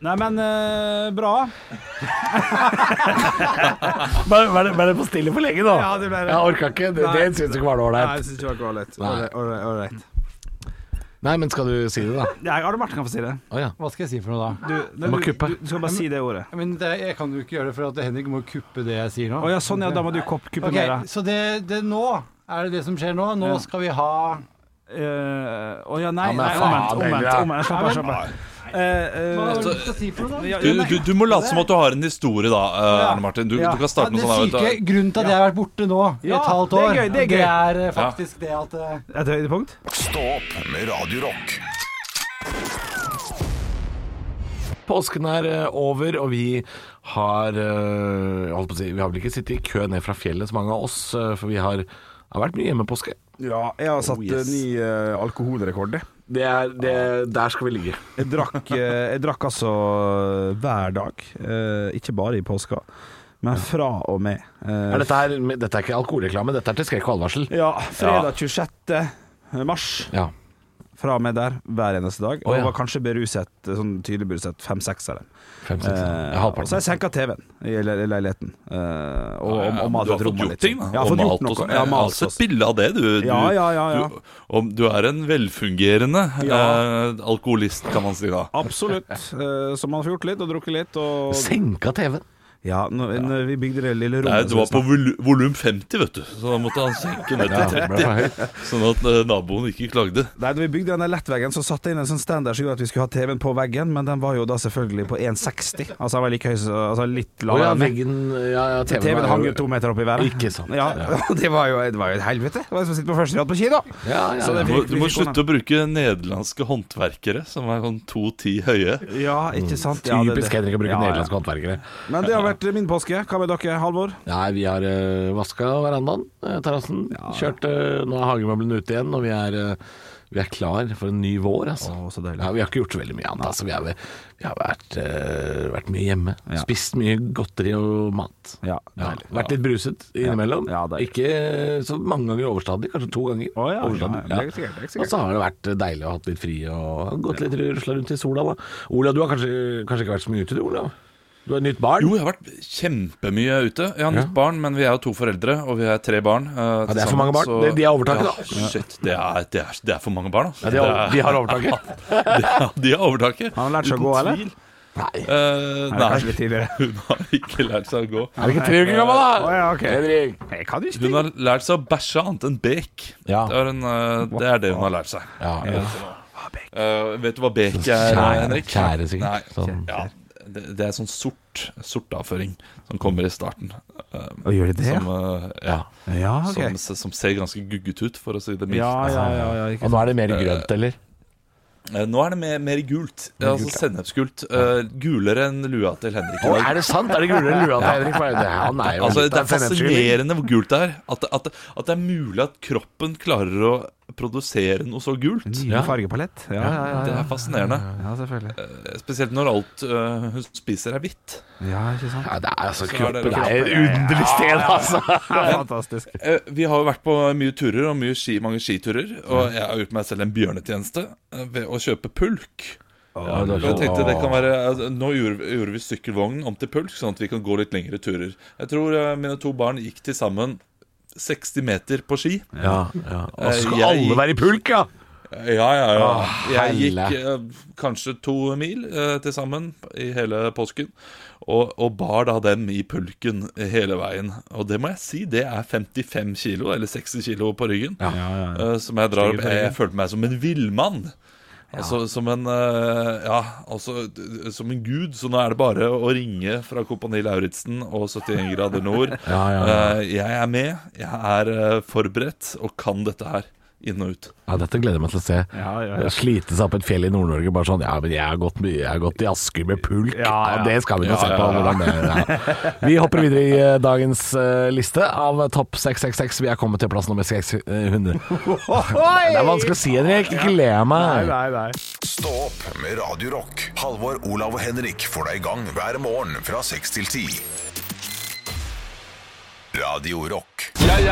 [SPEAKER 4] Nei, men eh, bra.
[SPEAKER 5] Vær det, var det for stille for lenge, da?
[SPEAKER 4] Ja, det ble det.
[SPEAKER 5] Jeg orka ikke. Det, det
[SPEAKER 4] Nei.
[SPEAKER 5] syns jeg ikke var noe
[SPEAKER 4] Nei,
[SPEAKER 5] ålreit.
[SPEAKER 4] jeg syns ikke det var ålreit.
[SPEAKER 5] Nei.
[SPEAKER 4] Ålreit, ålreit, ålreit.
[SPEAKER 5] Nei, men skal du si det, da?
[SPEAKER 4] Ja, Arne Martin kan få si det.
[SPEAKER 5] Å ja.
[SPEAKER 8] Hva skal jeg si for noe da?
[SPEAKER 4] Du, nei,
[SPEAKER 5] må
[SPEAKER 4] du,
[SPEAKER 5] kuppe.
[SPEAKER 4] du, du skal bare si det ordet.
[SPEAKER 8] Men det, jeg kan jo ikke gjøre det, for at Henrik må kuppe det jeg sier nå.
[SPEAKER 4] Å ja, sånn ja, da må du kopp, kuppe
[SPEAKER 8] Ok,
[SPEAKER 4] mer. da.
[SPEAKER 8] Så det, det nå er det det som skjer nå. Nå
[SPEAKER 4] Ja.
[SPEAKER 8] skal vi ha
[SPEAKER 4] Eh, Å ja, nei,
[SPEAKER 5] Ja, men
[SPEAKER 4] nei
[SPEAKER 5] faen,
[SPEAKER 4] omvendt. omvendt,
[SPEAKER 5] Helge.
[SPEAKER 4] omvendt. Slapp av, slapp av. Eh,
[SPEAKER 8] Hva
[SPEAKER 4] eh,
[SPEAKER 8] er det du skal si for noe, da?
[SPEAKER 4] ja,
[SPEAKER 6] Du,
[SPEAKER 4] ja, nei.
[SPEAKER 6] du, du må late som at du har en historie, da, eh, Arne Martin. Du,
[SPEAKER 4] Ja.
[SPEAKER 6] du kan
[SPEAKER 8] Ja,
[SPEAKER 6] starte med
[SPEAKER 8] det
[SPEAKER 6] sånn her, vet
[SPEAKER 8] syke, grunnen til at jeg har vært borte nå i
[SPEAKER 4] Ja,
[SPEAKER 8] et halvt
[SPEAKER 4] det er
[SPEAKER 8] år,
[SPEAKER 4] gøy, det er gøy.
[SPEAKER 8] eh, faktisk det at eh,
[SPEAKER 4] Et høydepunkt?
[SPEAKER 1] Stå opp med Radio Rock.
[SPEAKER 5] Påsken er eh, over, og vi har eh, holdt på å si, Vi har vel ikke sittet i kø ned fra fjellet, så mange av oss, eh, for vi har, har vært mye hjemme påske.
[SPEAKER 4] Ja, jeg har
[SPEAKER 5] Oh,
[SPEAKER 4] satt
[SPEAKER 5] yes.
[SPEAKER 4] eh, ny eh, alkoholrekord. jeg.
[SPEAKER 5] Det er, det, der skal vi ligge.
[SPEAKER 4] Jeg drakk, eh, jeg drakk altså hver dag, eh, ikke bare i påska, men fra og med. eh,
[SPEAKER 5] Er dette, her, men dette er ikke alkoholreklame, dette er til skrekk og advarsel.
[SPEAKER 4] Ja, fredag 26. mars,
[SPEAKER 5] Ja.
[SPEAKER 4] fra og med der, hver eneste dag.
[SPEAKER 5] Å,
[SPEAKER 4] Og
[SPEAKER 5] ja.
[SPEAKER 4] var kanskje beruset, sånn tydelig beruset, fem-seks av dem.
[SPEAKER 5] Fem, seks,
[SPEAKER 4] Eh,
[SPEAKER 5] ja.
[SPEAKER 4] og så har
[SPEAKER 5] halvparten.
[SPEAKER 4] jeg senka TV-en i, le- i leiligheten. Eh, og, og,
[SPEAKER 6] Ja, ja,
[SPEAKER 4] og
[SPEAKER 6] men Du
[SPEAKER 4] matet
[SPEAKER 6] har fått
[SPEAKER 4] rommet
[SPEAKER 6] gjort
[SPEAKER 4] litt.
[SPEAKER 6] ting, da.
[SPEAKER 4] Ja, jeg har
[SPEAKER 6] og
[SPEAKER 4] fått
[SPEAKER 6] malt
[SPEAKER 4] gjort
[SPEAKER 6] og
[SPEAKER 4] noe.
[SPEAKER 6] sånn.
[SPEAKER 4] Ja,
[SPEAKER 6] Jeg har
[SPEAKER 4] malt
[SPEAKER 6] sett
[SPEAKER 4] også.
[SPEAKER 6] bilde av det, du. du
[SPEAKER 4] Ja, ja, ja, ja.
[SPEAKER 6] Du, om du er en velfungerende
[SPEAKER 4] Ja.
[SPEAKER 6] eh, alkoholist, kan man si da.
[SPEAKER 4] Absolutt. Eh, så man får gjort litt og drukket litt. Og,
[SPEAKER 5] Senka TV-en.
[SPEAKER 4] ja, når, når vi bygde det lille
[SPEAKER 6] Nei,
[SPEAKER 4] rommet
[SPEAKER 6] det var
[SPEAKER 4] som vi
[SPEAKER 6] på vol- volum 50, vet du. Så da måtte han senke ned til 30. Sånn at eh, naboen ikke klagde.
[SPEAKER 4] snakket- Nei, da vi bygde den der lettveggen, så satte jeg inn en sånn standard som gjorde at vi skulle ha TV-en på veggen, men den var jo da selvfølgelig på 1,60. Altså den var like høy som- altså, litt
[SPEAKER 5] Å ja,
[SPEAKER 4] lavere. enn meg.
[SPEAKER 5] veggen ja, ja, TV-en
[SPEAKER 4] TV-en
[SPEAKER 5] er
[SPEAKER 4] hang
[SPEAKER 5] jo-
[SPEAKER 4] jo to meter opp i været.
[SPEAKER 5] Ikke sant.
[SPEAKER 4] Ja, og det var jo, det var jo et helvete. Det var som å sitte på første rad på kino.
[SPEAKER 5] Ja, ja,
[SPEAKER 4] Så det
[SPEAKER 5] ja.
[SPEAKER 6] Du må,
[SPEAKER 4] fikk-
[SPEAKER 6] du
[SPEAKER 4] vi
[SPEAKER 6] må
[SPEAKER 4] fikk
[SPEAKER 6] slutte å bruke nederlandske håndverkere, som er sånn 2,10 høye.
[SPEAKER 4] Ja, ikke sant. Ja, det-
[SPEAKER 5] Typisk Henrik å bruke
[SPEAKER 4] Ja, ja.
[SPEAKER 5] nederlandske håndverkere.
[SPEAKER 4] Men det har vært min påske. Hva med dere, Halvor?
[SPEAKER 5] Nei, vi har uh, vaska verandaen, eh, terrassen. Kjørt eh, Nå er hagemøblene ute igjen, og vi er, eh, vi er klar for en ny vår, altså.
[SPEAKER 4] Å, så deilig.
[SPEAKER 5] ja, vi har ikke gjort så veldig mye annet. Altså. Vi, har, vi- vi har vært, eh, vært mye hjemme.
[SPEAKER 4] Ja.
[SPEAKER 5] Spist mye godteri og mat.
[SPEAKER 4] Ja,
[SPEAKER 5] Ja,
[SPEAKER 4] deilig.
[SPEAKER 5] vært litt bruset innimellom.
[SPEAKER 4] Ja, deilig.
[SPEAKER 5] ikke så mange ganger overstadig, kanskje to ganger.
[SPEAKER 4] Å, ja,
[SPEAKER 5] overstadig.
[SPEAKER 4] ja, det er sikkert, det er sikkert.
[SPEAKER 5] Og så har det vært deilig å ha hatt litt fri og gått litt rusla rundt i sola. Da. Ola, du har kanskje, kanskje ikke vært så mye ute, du, Olav? Du har nytt barn?
[SPEAKER 6] Jo, jeg har vært kjempemye ute. Jeg har nytt
[SPEAKER 5] Ja.
[SPEAKER 6] barn, men vi er jo to foreldre, og vi er tre barn. eh,
[SPEAKER 5] er
[SPEAKER 6] til
[SPEAKER 5] for
[SPEAKER 6] sammen,
[SPEAKER 5] mange barn.
[SPEAKER 6] så-
[SPEAKER 5] Det- de er overtaket, da.
[SPEAKER 6] ja, Shit, det er, det, er, det er for mange barn, altså.
[SPEAKER 5] Ja, de, har, de har overtaket.
[SPEAKER 6] Det er- de har overtaket.
[SPEAKER 4] Har han lært seg å
[SPEAKER 6] Uten
[SPEAKER 4] gå, eller?
[SPEAKER 6] tvil.
[SPEAKER 5] Nei.
[SPEAKER 6] Eh,
[SPEAKER 4] Nei, kanskje litt
[SPEAKER 6] nei,
[SPEAKER 4] tidligere.
[SPEAKER 6] hun har ikke lært seg å gå.
[SPEAKER 5] Er det ikke tre uker gammel, da?
[SPEAKER 4] Å, ja, ok.
[SPEAKER 5] Henrik.
[SPEAKER 4] Jeg kan jo ikke
[SPEAKER 6] Hun har lært seg å bæsje annet enn bek.
[SPEAKER 5] Ja.
[SPEAKER 6] Det, er en, eh, det er det hun har lært seg.
[SPEAKER 5] Ja, ja.
[SPEAKER 6] Eh, vet du hva bek er,
[SPEAKER 5] Kjære,
[SPEAKER 6] Henrik?
[SPEAKER 5] kjære sikkert.
[SPEAKER 6] Nei.
[SPEAKER 5] Sånn.
[SPEAKER 6] Ja, det, det er sånn sort, sort avføring som kommer i starten. eh,
[SPEAKER 4] Å, gjør de det?
[SPEAKER 6] Som, eh, ja,
[SPEAKER 4] Ja, ok.
[SPEAKER 6] som, som ser ganske gugget ut, for å si det mildt.
[SPEAKER 4] Ja, ja, ja, ja,
[SPEAKER 5] Og
[SPEAKER 4] ikke
[SPEAKER 5] nå er det mer grønt, eller?
[SPEAKER 6] Eh, Nå er det mer, mer gult. altså Sennepsgult. Eh, gulere enn lua til Henrik. i
[SPEAKER 5] Å,
[SPEAKER 6] dag.
[SPEAKER 5] er det sant? Er det gulere lua til Henrik? Bare- det- Han er jo
[SPEAKER 6] altså,
[SPEAKER 5] litt
[SPEAKER 6] det er
[SPEAKER 5] av en sennepsgulling.
[SPEAKER 6] fascinerende hvor gult det er. At, at, at det er mulig at kroppen klarer å produsere noe så gult.
[SPEAKER 4] Ny fargepalett. Ja, ja, ja,
[SPEAKER 6] Det er fascinerende.
[SPEAKER 4] ja, selvfølgelig.
[SPEAKER 6] Eh, Spesielt når alt eh, hun spiser, er hvitt.
[SPEAKER 4] Ja, ikke sant.
[SPEAKER 5] Ja, det er altså
[SPEAKER 6] Sånn er det
[SPEAKER 5] kroppen er et underlig sted, altså.
[SPEAKER 4] Fantastisk.
[SPEAKER 6] Eh, Vi har jo vært på mye turer og mye ski, mange skiturer, og jeg har gjort meg selv en bjørnetjeneste eh, ved å kjøpe pulk. Og jeg tenkte det kan være altså, Nå gjorde, gjorde vi sykkelvognen om til pulk, sånn at vi kan gå litt lengre turer. Jeg tror eh, mine to barn gikk til sammen 60 meter på ski. Eh,
[SPEAKER 5] Ja, ja. Og så skal
[SPEAKER 6] Jeg-
[SPEAKER 5] alle være i pulk, ja!
[SPEAKER 6] Ja, ja, ja. jeg gikk
[SPEAKER 5] helle.
[SPEAKER 6] eh, kanskje to mil eh, til sammen i hele påsken. Og, og bar da dem i pulken hele veien. Og det må jeg si, det er 55 kilo, eller 60 kilo på ryggen. eh, som jeg drar opp. Jeg, følte meg som en villmann. Altså som en eh, Ja, altså d- som en gud. Så nå er det bare å ringe fra Kompani Lauritzen og 71 grader nord.
[SPEAKER 5] Ja, ja, ja.
[SPEAKER 6] Eh, Jeg er med, jeg er eh, forberedt og kan dette her inn og ut.
[SPEAKER 5] Ja, dette gleder jeg meg til å se. Slite seg opp et fjell i Nord-Norge bare sånn Ja, men jeg har gått, mye- jeg har gått i Asker med pulk. Ja, Det skal vi nå se på. Hvordan det, ja. Vi hopper videre i eh, dagens eh, liste av topp 666. Vi er kommet til plass nummer 600. Det er vanskelig å si, Henrik. Ikke le av meg.
[SPEAKER 1] Stå opp med Radio Rock. Halvor, Olav og Henrik får deg i gang hver morgen fra 6 til 10. Radio Rock.
[SPEAKER 9] Det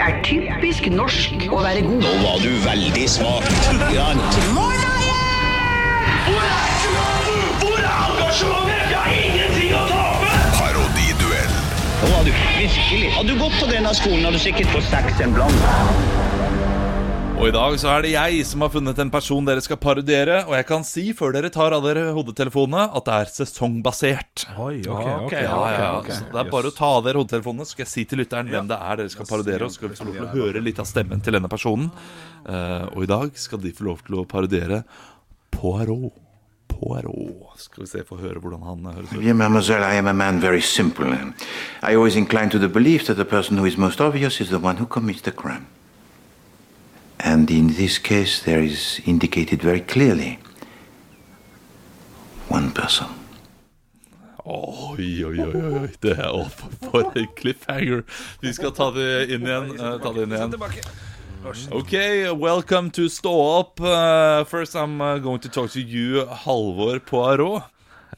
[SPEAKER 9] er typisk norsk å være god. Nå var du veldig smak. Hvor er engasjementet? Hvor er engasjementet? Jeg har ingenting å tape!
[SPEAKER 1] Parodiduell.
[SPEAKER 9] Nå var du virkelig. Hadde du gått på denne skolen, hadde du sikkert fått seks en blant.
[SPEAKER 6] Og i dag så er det jeg som har funnet en person dere skal parodiere. Og jeg kan si før dere tar av dere hodetelefonene, at det er sesongbasert.
[SPEAKER 4] Oi, ok, ok.
[SPEAKER 6] Ja, ja, ja. Så det er bare å ta av dere hodetelefonene, så skal jeg si til lytteren hvem det er dere skal parodiere, og så skal vi få lov til å høre litt av stemmen til denne personen. Eh, og i dag skal de få lov til å parodiere Poirot. Poirot. Skal vi se, få høre hvordan han eh, høres ut.
[SPEAKER 10] Dear mademoiselle, I am a man very simple. I always incline to the belief that the person who is most obvious is the one who commits the crime. And in this case, there is indicated very clearly one person.
[SPEAKER 6] Oi, oi, oi, oi, oi. Det er opp for en cliffhanger. Vi skal ta det inn igjen. eh, ta det inn igjen. Ok, welcome to Stå opp. Eh, first I'm eh, going to talk to you, Halvor Poirot.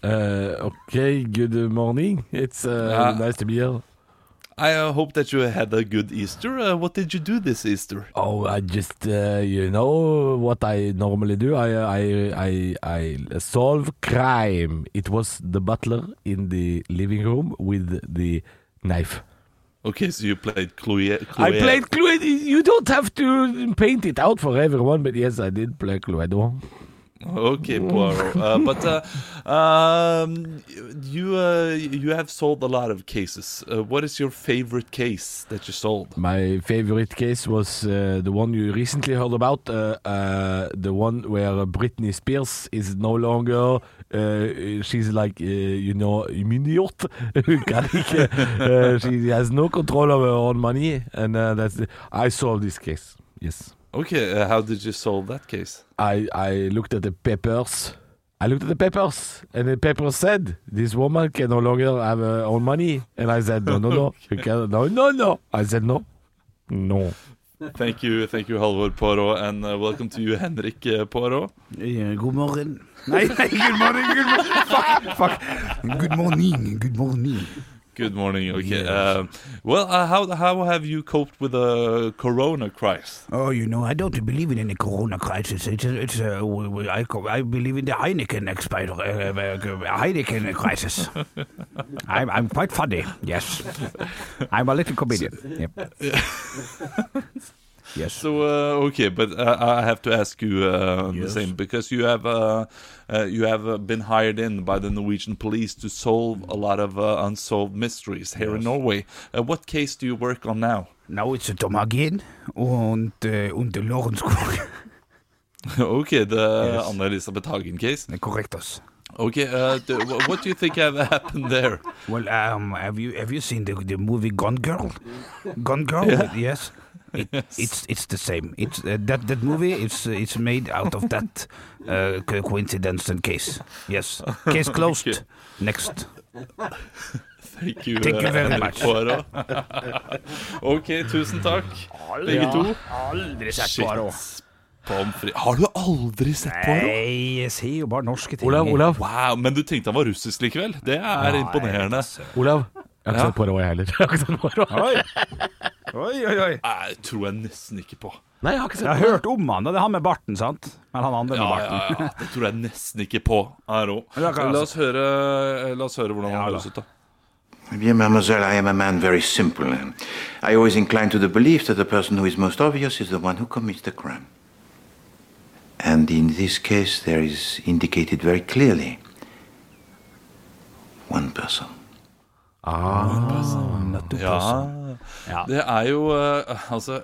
[SPEAKER 5] Eh, ok, good morning. It's uh,
[SPEAKER 6] Ja.
[SPEAKER 5] nice to be here.
[SPEAKER 6] I uh, hope that you had a good Easter. Uh, what did you do this Easter?
[SPEAKER 5] Oh, I just uh, you know what I normally do. I I I I solve crime. It was the butler in the living room with the knife.
[SPEAKER 6] Okay, so you played Chloe.
[SPEAKER 5] I played Cluedo. You don't have to paint it out for everyone, but yes, I did play Cluedo.
[SPEAKER 6] Okay, Poirot. Uh, but uh, um, you uh, you have sold a lot of cases. Uh, what is your favorite case that you sold?
[SPEAKER 5] My favorite case was uh, the one you recently heard about, uh, uh, the one where Britney Spears is no longer. Uh, she's like, uh, you know, immediate. Kan ikke- uh, she has no control of her own money, and uh, that's. The, I solved this case. Yes,
[SPEAKER 6] Okay, uh, how did you solve that case?
[SPEAKER 5] I I looked at the papers. I looked at the papers, and the papers said this woman can no longer have her own money. And I said, no, no, no, you can, no, no, no. I said no, no.
[SPEAKER 6] Thank you, thank you, Halvor Poirot, and uh, welcome to you, Henrik uh, Poirot.
[SPEAKER 4] God morgen. Nei, nei, good morning, good morning. Fuck, fuck. Good morning, good morning.
[SPEAKER 6] Good morning. Okay. Um well, uh, how how have you coped with the Corona crisis?
[SPEAKER 4] Oh, you know, I don't believe in any corona crisis. It's, it's uh, w- w- I, co- I believe in the Heineken expire, uh, uh, Heineken crisis. I'm, I'm quite funny, yes. I'm a little comedian. Yep. Yes.
[SPEAKER 6] So uh, okay, but uh, I have to ask you uh, the same because you have uh, uh, you have uh, been hired in by the Norwegian police to solve a lot of uh, unsolved mysteries here in Norway. Uh, what case do you work on now?
[SPEAKER 4] Now it's Tom again and, uh, and the Lawrence Cook.
[SPEAKER 6] okay, the Anna Elisabeth Hagen case.
[SPEAKER 4] Correct us.
[SPEAKER 6] Okay, uh, the, wh- what do you think have happened there?
[SPEAKER 4] Well, um, have you have you seen the the movie Gone Girl? Gone Girl, yes. It, It's it's the same. It's uh, that that movie. It's uh, it's made out of that uh, co- coincidence and case. Yes, case closed.
[SPEAKER 6] Okay.
[SPEAKER 4] Next.
[SPEAKER 6] Thank you,
[SPEAKER 4] Thank you very
[SPEAKER 6] Henrik
[SPEAKER 4] much.
[SPEAKER 6] Poirot. ok, tusen takk, begge to.
[SPEAKER 4] Aldri
[SPEAKER 6] Shit. Pommes frites. Har du aldri sett Poirot?
[SPEAKER 4] Nei, jeg sier jo bare norske ting.
[SPEAKER 5] Olav, Olav.
[SPEAKER 6] Wow, men du tenkte han var russisk likevel? Det er imponerende.
[SPEAKER 5] Olav. Jeg har ikke
[SPEAKER 6] Ja.
[SPEAKER 5] sett Poirot, jeg heller. Jeg har ikke sett Poirot.
[SPEAKER 4] Oi, oi, oi. oi.
[SPEAKER 6] Nei, tror jeg nesten ikke på.
[SPEAKER 5] Nei, jeg har ikke
[SPEAKER 4] Jeg har hørt om han, og det er han med barten, sant? Men han andre
[SPEAKER 6] Ja,
[SPEAKER 4] med
[SPEAKER 6] ja,
[SPEAKER 4] barten.
[SPEAKER 6] ja, det tror jeg nesten ikke på. Aro.
[SPEAKER 4] da kan jeg
[SPEAKER 6] La oss høre, la oss høre hvordan han
[SPEAKER 4] Ja, da.
[SPEAKER 6] høres ut, da.
[SPEAKER 10] Dear mademoiselle, I am a man very simple. I always incline to the belief that the person who is most obvious is the one who commits the crime. And in this case, there is indicated very clearly one person.
[SPEAKER 6] Ja, det er jo eh, Altså,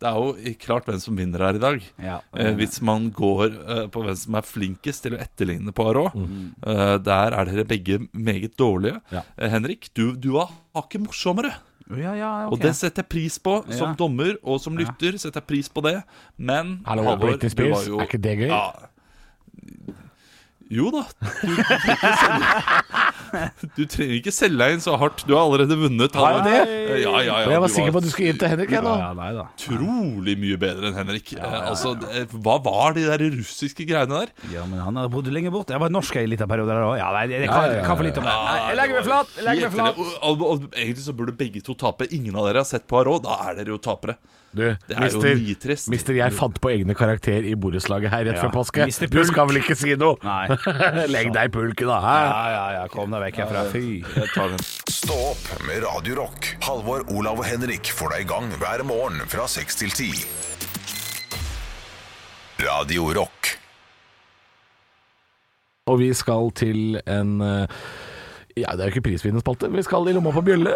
[SPEAKER 6] Det er jo ikke klart hvem som vinner her i dag.
[SPEAKER 4] Ja.
[SPEAKER 6] Eh, hvis man går eh, på hvem som er flinkest til å etterligne Poirot. Eh, der er dere begge meget dårlige.
[SPEAKER 5] Mm. Ja.
[SPEAKER 6] Eh, Henrik, du, du har hakket morsommere.
[SPEAKER 4] Ja, ja, ok.
[SPEAKER 6] Og det setter jeg pris på
[SPEAKER 4] Ja.
[SPEAKER 6] som dommer og som lytter. setter jeg pris på det Men
[SPEAKER 5] Hallo, Britney
[SPEAKER 6] du var
[SPEAKER 5] Spears, er ikke det gøy?
[SPEAKER 6] Ja. Jo da. Du, du, trenger ikke selge- du trenger ikke selge deg inn så hardt. Du har allerede vunnet. Halvor.
[SPEAKER 5] jeg det?
[SPEAKER 6] Eh, Ja, ja, ja,
[SPEAKER 5] jeg var
[SPEAKER 6] du
[SPEAKER 5] sikker på at du skulle inn til Henrik. jeg, nå.
[SPEAKER 4] ja, nei da.
[SPEAKER 6] utrolig mye bedre enn Henrik. Eh, Altså, eh, Hva var de der russiske greiene der?
[SPEAKER 4] Ja, men han har bodd lenge borte. Jeg var norsk i en liten periode der òg. Ja, nei, jeg kan,
[SPEAKER 5] Ja, ja, ja,
[SPEAKER 4] kan for lite om det. Nei, jeg legger meg flat! Jeg legger meg
[SPEAKER 6] Helt
[SPEAKER 4] flat.
[SPEAKER 6] enig. Og, og, og egentlig så burde begge to tape. Ingen av dere har sett Poirot. Da er dere jo tapere.
[SPEAKER 5] Du,
[SPEAKER 6] er jo nitrist.
[SPEAKER 5] mister, mister, jeg fant på egne karakter i borettslaget her rett
[SPEAKER 4] Ja.
[SPEAKER 5] før påske.
[SPEAKER 4] Mister
[SPEAKER 5] Du
[SPEAKER 4] Pulk.
[SPEAKER 5] skal vel ikke si noe?
[SPEAKER 4] Nei.
[SPEAKER 5] Legg deg i pulken, da. hæ?
[SPEAKER 4] Ja, ja, ja, kom deg vekk herfra. Fy.
[SPEAKER 6] Jeg tar den.
[SPEAKER 1] Stå opp med Radio Rock. Halvor, Olav og Henrik får deg i gang hver morgen fra 6 til 10. Radio Rock.
[SPEAKER 5] Og vi skal til en eh, ja, Det er jo ikke prisvinnende spalte, vi skal i lomma på bjølle.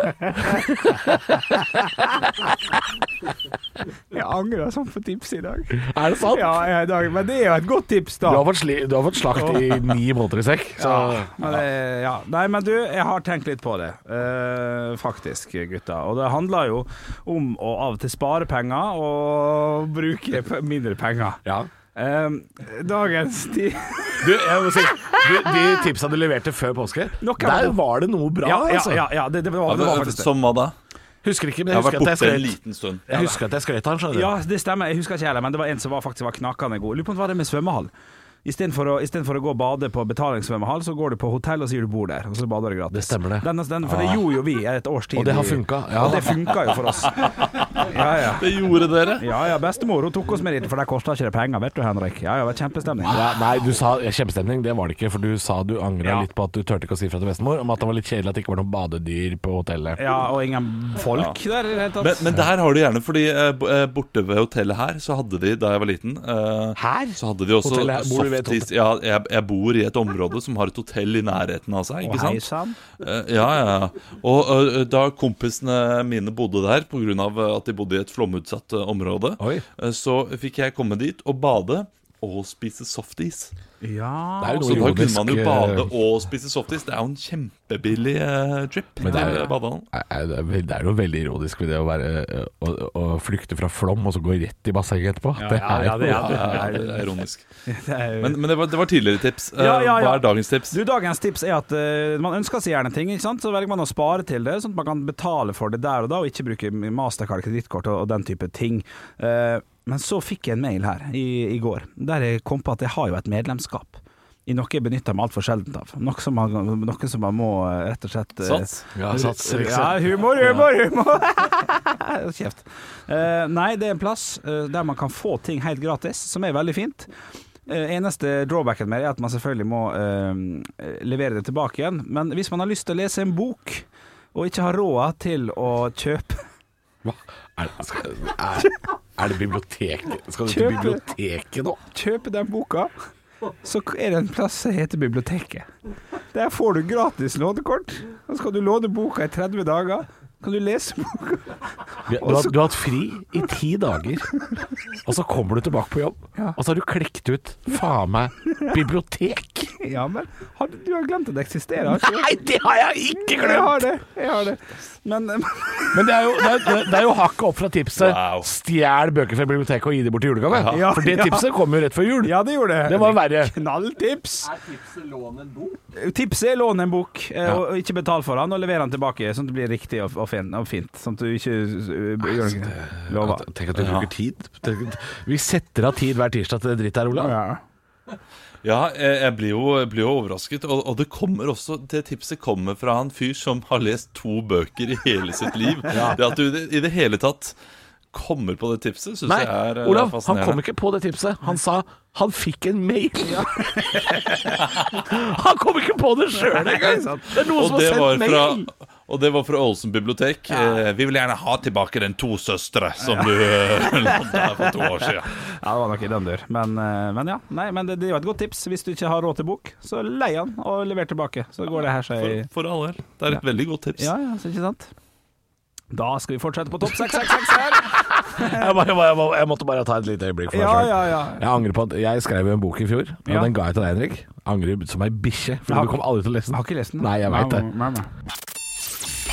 [SPEAKER 4] Jeg angrer sånn på tipset i dag.
[SPEAKER 5] Er det sant?
[SPEAKER 4] Ja, jeg er i dag. Men det er jo et godt tips, da.
[SPEAKER 5] Du har fått, sli, du har fått slakt i ni måneder i sekk. Så
[SPEAKER 4] Men, det- ja. Nei, men du, jeg har tenkt litt på det, eh, faktisk, gutta. Og det handler jo om å av og til spare penger og bruke p- mindre penger.
[SPEAKER 5] ja.
[SPEAKER 4] Eh, dagens tid
[SPEAKER 5] Du, jeg må si, du, de tipsa du leverte før påske,
[SPEAKER 4] Nok er
[SPEAKER 5] der
[SPEAKER 4] det.
[SPEAKER 5] var det noe bra.
[SPEAKER 4] Ja, ja,
[SPEAKER 5] altså.
[SPEAKER 4] ja, ja det, det, var,
[SPEAKER 6] Ja,
[SPEAKER 4] det var
[SPEAKER 6] men,
[SPEAKER 4] faktisk det.
[SPEAKER 6] som hva da?
[SPEAKER 5] Husker ikke, men
[SPEAKER 6] Jeg
[SPEAKER 5] jeg
[SPEAKER 6] har
[SPEAKER 5] husker at
[SPEAKER 6] vært
[SPEAKER 5] jeg
[SPEAKER 6] borte en
[SPEAKER 5] skrøt.
[SPEAKER 6] liten stund.
[SPEAKER 5] Jeg husker at jeg skrøt av han, skjønner du.
[SPEAKER 4] Ja, det stemmer. Jeg husker ikke heller, men det var en som var, faktisk var knakende god. Lurer på om det var det med svømmehall. Istedenfor å, i stedet for å gå og bade på betalingssvømmehall, så går du på hotell og sier du bor der, og så bader du gratis.
[SPEAKER 5] Det stemmer det. Ah.
[SPEAKER 4] Den, den, for det gjorde jo vi i et års tid.
[SPEAKER 5] Og det har
[SPEAKER 4] i-
[SPEAKER 5] funka, ja.
[SPEAKER 4] Og det funka jo for oss. Ja, ja.
[SPEAKER 6] Det gjorde dere.
[SPEAKER 4] Ja, ja, bestemor hun tok oss med dit, for der kosta ikke det penger, vet du, Henrik. Ja, ja, det var kjempestemning.
[SPEAKER 5] Ja, nei, du sa kjempestemning, det var det ikke. For du sa du angra
[SPEAKER 4] Ja.
[SPEAKER 5] litt på at du turte ikke å si fra til bestemor om at det var litt kjedelig at det ikke var noen badedyr på hotellet.
[SPEAKER 4] Ja, og ingen folk der i det hele tatt.
[SPEAKER 6] Men, men der har du gjerne, fordi eh, b- eh, borte ved hotellet her, så hadde de, da jeg var liten eh,
[SPEAKER 5] Her?
[SPEAKER 6] Så hadde de også
[SPEAKER 5] Hotellet her- bor du ved et
[SPEAKER 6] softis Ja, jeg, jeg bor i et område som har et hotell i nærheten av
[SPEAKER 4] Å,
[SPEAKER 6] seg, ikke
[SPEAKER 4] hei
[SPEAKER 6] sant?
[SPEAKER 4] sann.
[SPEAKER 6] Eh, Ja, ja, ja. Og eh, da kompisene mine bodde der, pga. at de bodde i et flomutsatt eh, område,
[SPEAKER 5] Oi.
[SPEAKER 6] eh, så fikk jeg komme dit og bade og spise softis.
[SPEAKER 4] Ja.
[SPEAKER 5] Det er jo
[SPEAKER 6] Så
[SPEAKER 5] noe
[SPEAKER 6] da kunne man jo
[SPEAKER 5] ironisk,
[SPEAKER 6] bade
[SPEAKER 5] eh,
[SPEAKER 6] og spise softis. Det er jo en kjempebillig eh, trip.
[SPEAKER 5] Men det er-
[SPEAKER 6] eh, badehallen.
[SPEAKER 5] Nei, Det er, vel- det er jo veldig ironisk ved det å, være, eh, å, å flykte fra flom og så gå rett i bassenget etterpå. det
[SPEAKER 4] ja,
[SPEAKER 5] er
[SPEAKER 4] ja, det
[SPEAKER 5] jo-
[SPEAKER 4] er-
[SPEAKER 6] Ja, det er ironisk.
[SPEAKER 4] er jo-
[SPEAKER 6] Men, men det, var, det var tidligere tips. Eh,
[SPEAKER 4] Ja, ja, ja.
[SPEAKER 6] Hva er dagens tips?
[SPEAKER 4] Du, Dagens tips er at eh, man ønsker seg gjerne ting, ikke sant? så velger man å spare til det, sånn at man kan betale for det der og da, og ikke bruke mastercard, kredittkort og, og den type ting. Eh, men så fikk jeg en mail her i, i går, der jeg kom på at jeg har jo et medlemskap. I noe jeg benytter meg altfor sjeldent av. Noe som man, noe som man må eh, rett og slett eh,
[SPEAKER 6] Sats?
[SPEAKER 5] Ja, sats, riktig.
[SPEAKER 4] ja, humor, humor, humor! Hold Kjeft. Eh, nei, det er en plass eh, der man kan få ting helt gratis, som er veldig fint. Eh, eneste drawbacken med det er at man selvfølgelig må eh, levere det tilbake igjen. Men hvis man har lyst til å lese en bok, og ikke har råd til å kjøpe
[SPEAKER 5] Hva? Er, skal, er, er det biblioteket? Skal du til
[SPEAKER 4] Kjøp-
[SPEAKER 5] biblioteket nå?
[SPEAKER 4] kjøpe den boka, så er det en plass som heter biblioteket. Der får du gratis lånekort. Så skal du låne boka i 30 dager. Kan du lese boka?
[SPEAKER 5] Du, du, har, du har hatt fri i ti dager, og så kommer du tilbake på jobb, og så har du klekt ut faen meg bibliotek!
[SPEAKER 4] Ja, men har, du har glemt at det eksisterer, har ikke du?
[SPEAKER 5] Nei, det har jeg ikke
[SPEAKER 4] Jeg
[SPEAKER 5] glemt!
[SPEAKER 4] har det. Jeg har det. Men, eh,
[SPEAKER 5] Men det er jo, det er, det er- det er jo hakket opp fra tipset
[SPEAKER 6] Wow.
[SPEAKER 5] stjel bøker fra biblioteket og gi det bort i julegave.
[SPEAKER 4] Ja.
[SPEAKER 5] For det
[SPEAKER 4] Ja.
[SPEAKER 5] tipset kom jo rett før jul.
[SPEAKER 4] ja, det gjorde det.
[SPEAKER 5] Det var verre.
[SPEAKER 4] Knalltips!
[SPEAKER 8] tipset lån en bok?
[SPEAKER 4] Tipset er lån en bok, eh, og og ikke betal for den, og lever den tilbake, sånn at det blir riktig og, og, fin, og fint. Sånn at du ikke uh, gjør noe lover.
[SPEAKER 5] Tenk at du bruker tid. Tenk- Vi setter av tid hver tirsdag til det dritt her, Olav.
[SPEAKER 4] Ja.
[SPEAKER 6] Ja, jeg, jeg blir jo, jeg blir jo overrasket. Og, og det kommer også det tipset kommer fra en fyr som har lest to bøker i hele sitt liv. Det at du i det- i det hele tatt kommer på det tipset, syns
[SPEAKER 5] Nei,
[SPEAKER 6] jeg er eh,
[SPEAKER 5] Olav, han
[SPEAKER 6] fascinerende.
[SPEAKER 5] kom ikke på det tipset. Han sa han fikk en mail. han kom ikke på det sjøl engang! Det er noen som har
[SPEAKER 6] og det, var
[SPEAKER 5] sendt
[SPEAKER 6] fra,
[SPEAKER 5] mail.
[SPEAKER 6] og det var fra Ålesund bibliotek. Eh, vi vil gjerne ha tilbake den To søstre som du eh, lånte her for to år siden.
[SPEAKER 4] ja, det var nok i den dør. Men, eh, men ja. Nei, men det, det er jo et godt tips. Hvis du ikke har råd til bok, så lei den og lever tilbake. Så går det her seg
[SPEAKER 6] For, for all del. Det er et veldig godt tips.
[SPEAKER 4] Ja, ja, så ikke sant? Da skal vi fortsette på topp 666 her.
[SPEAKER 5] Jeg, bare, jeg, bare, jeg, bare, jeg måtte bare ta et lite øyeblikk for meg
[SPEAKER 4] Ja,
[SPEAKER 5] selv.
[SPEAKER 4] ja, ja.
[SPEAKER 5] Jeg angrer på at jeg skrev jo en bok i fjor, og
[SPEAKER 4] Ja.
[SPEAKER 5] den ga jeg til deg, Henrik. Angrer som ei bikkje, for
[SPEAKER 4] har
[SPEAKER 5] du kom aldri til å lese
[SPEAKER 4] Jeg
[SPEAKER 5] den.
[SPEAKER 4] har ikke lest den.
[SPEAKER 5] Nei, jeg veit det.
[SPEAKER 4] Nei, nei, nei.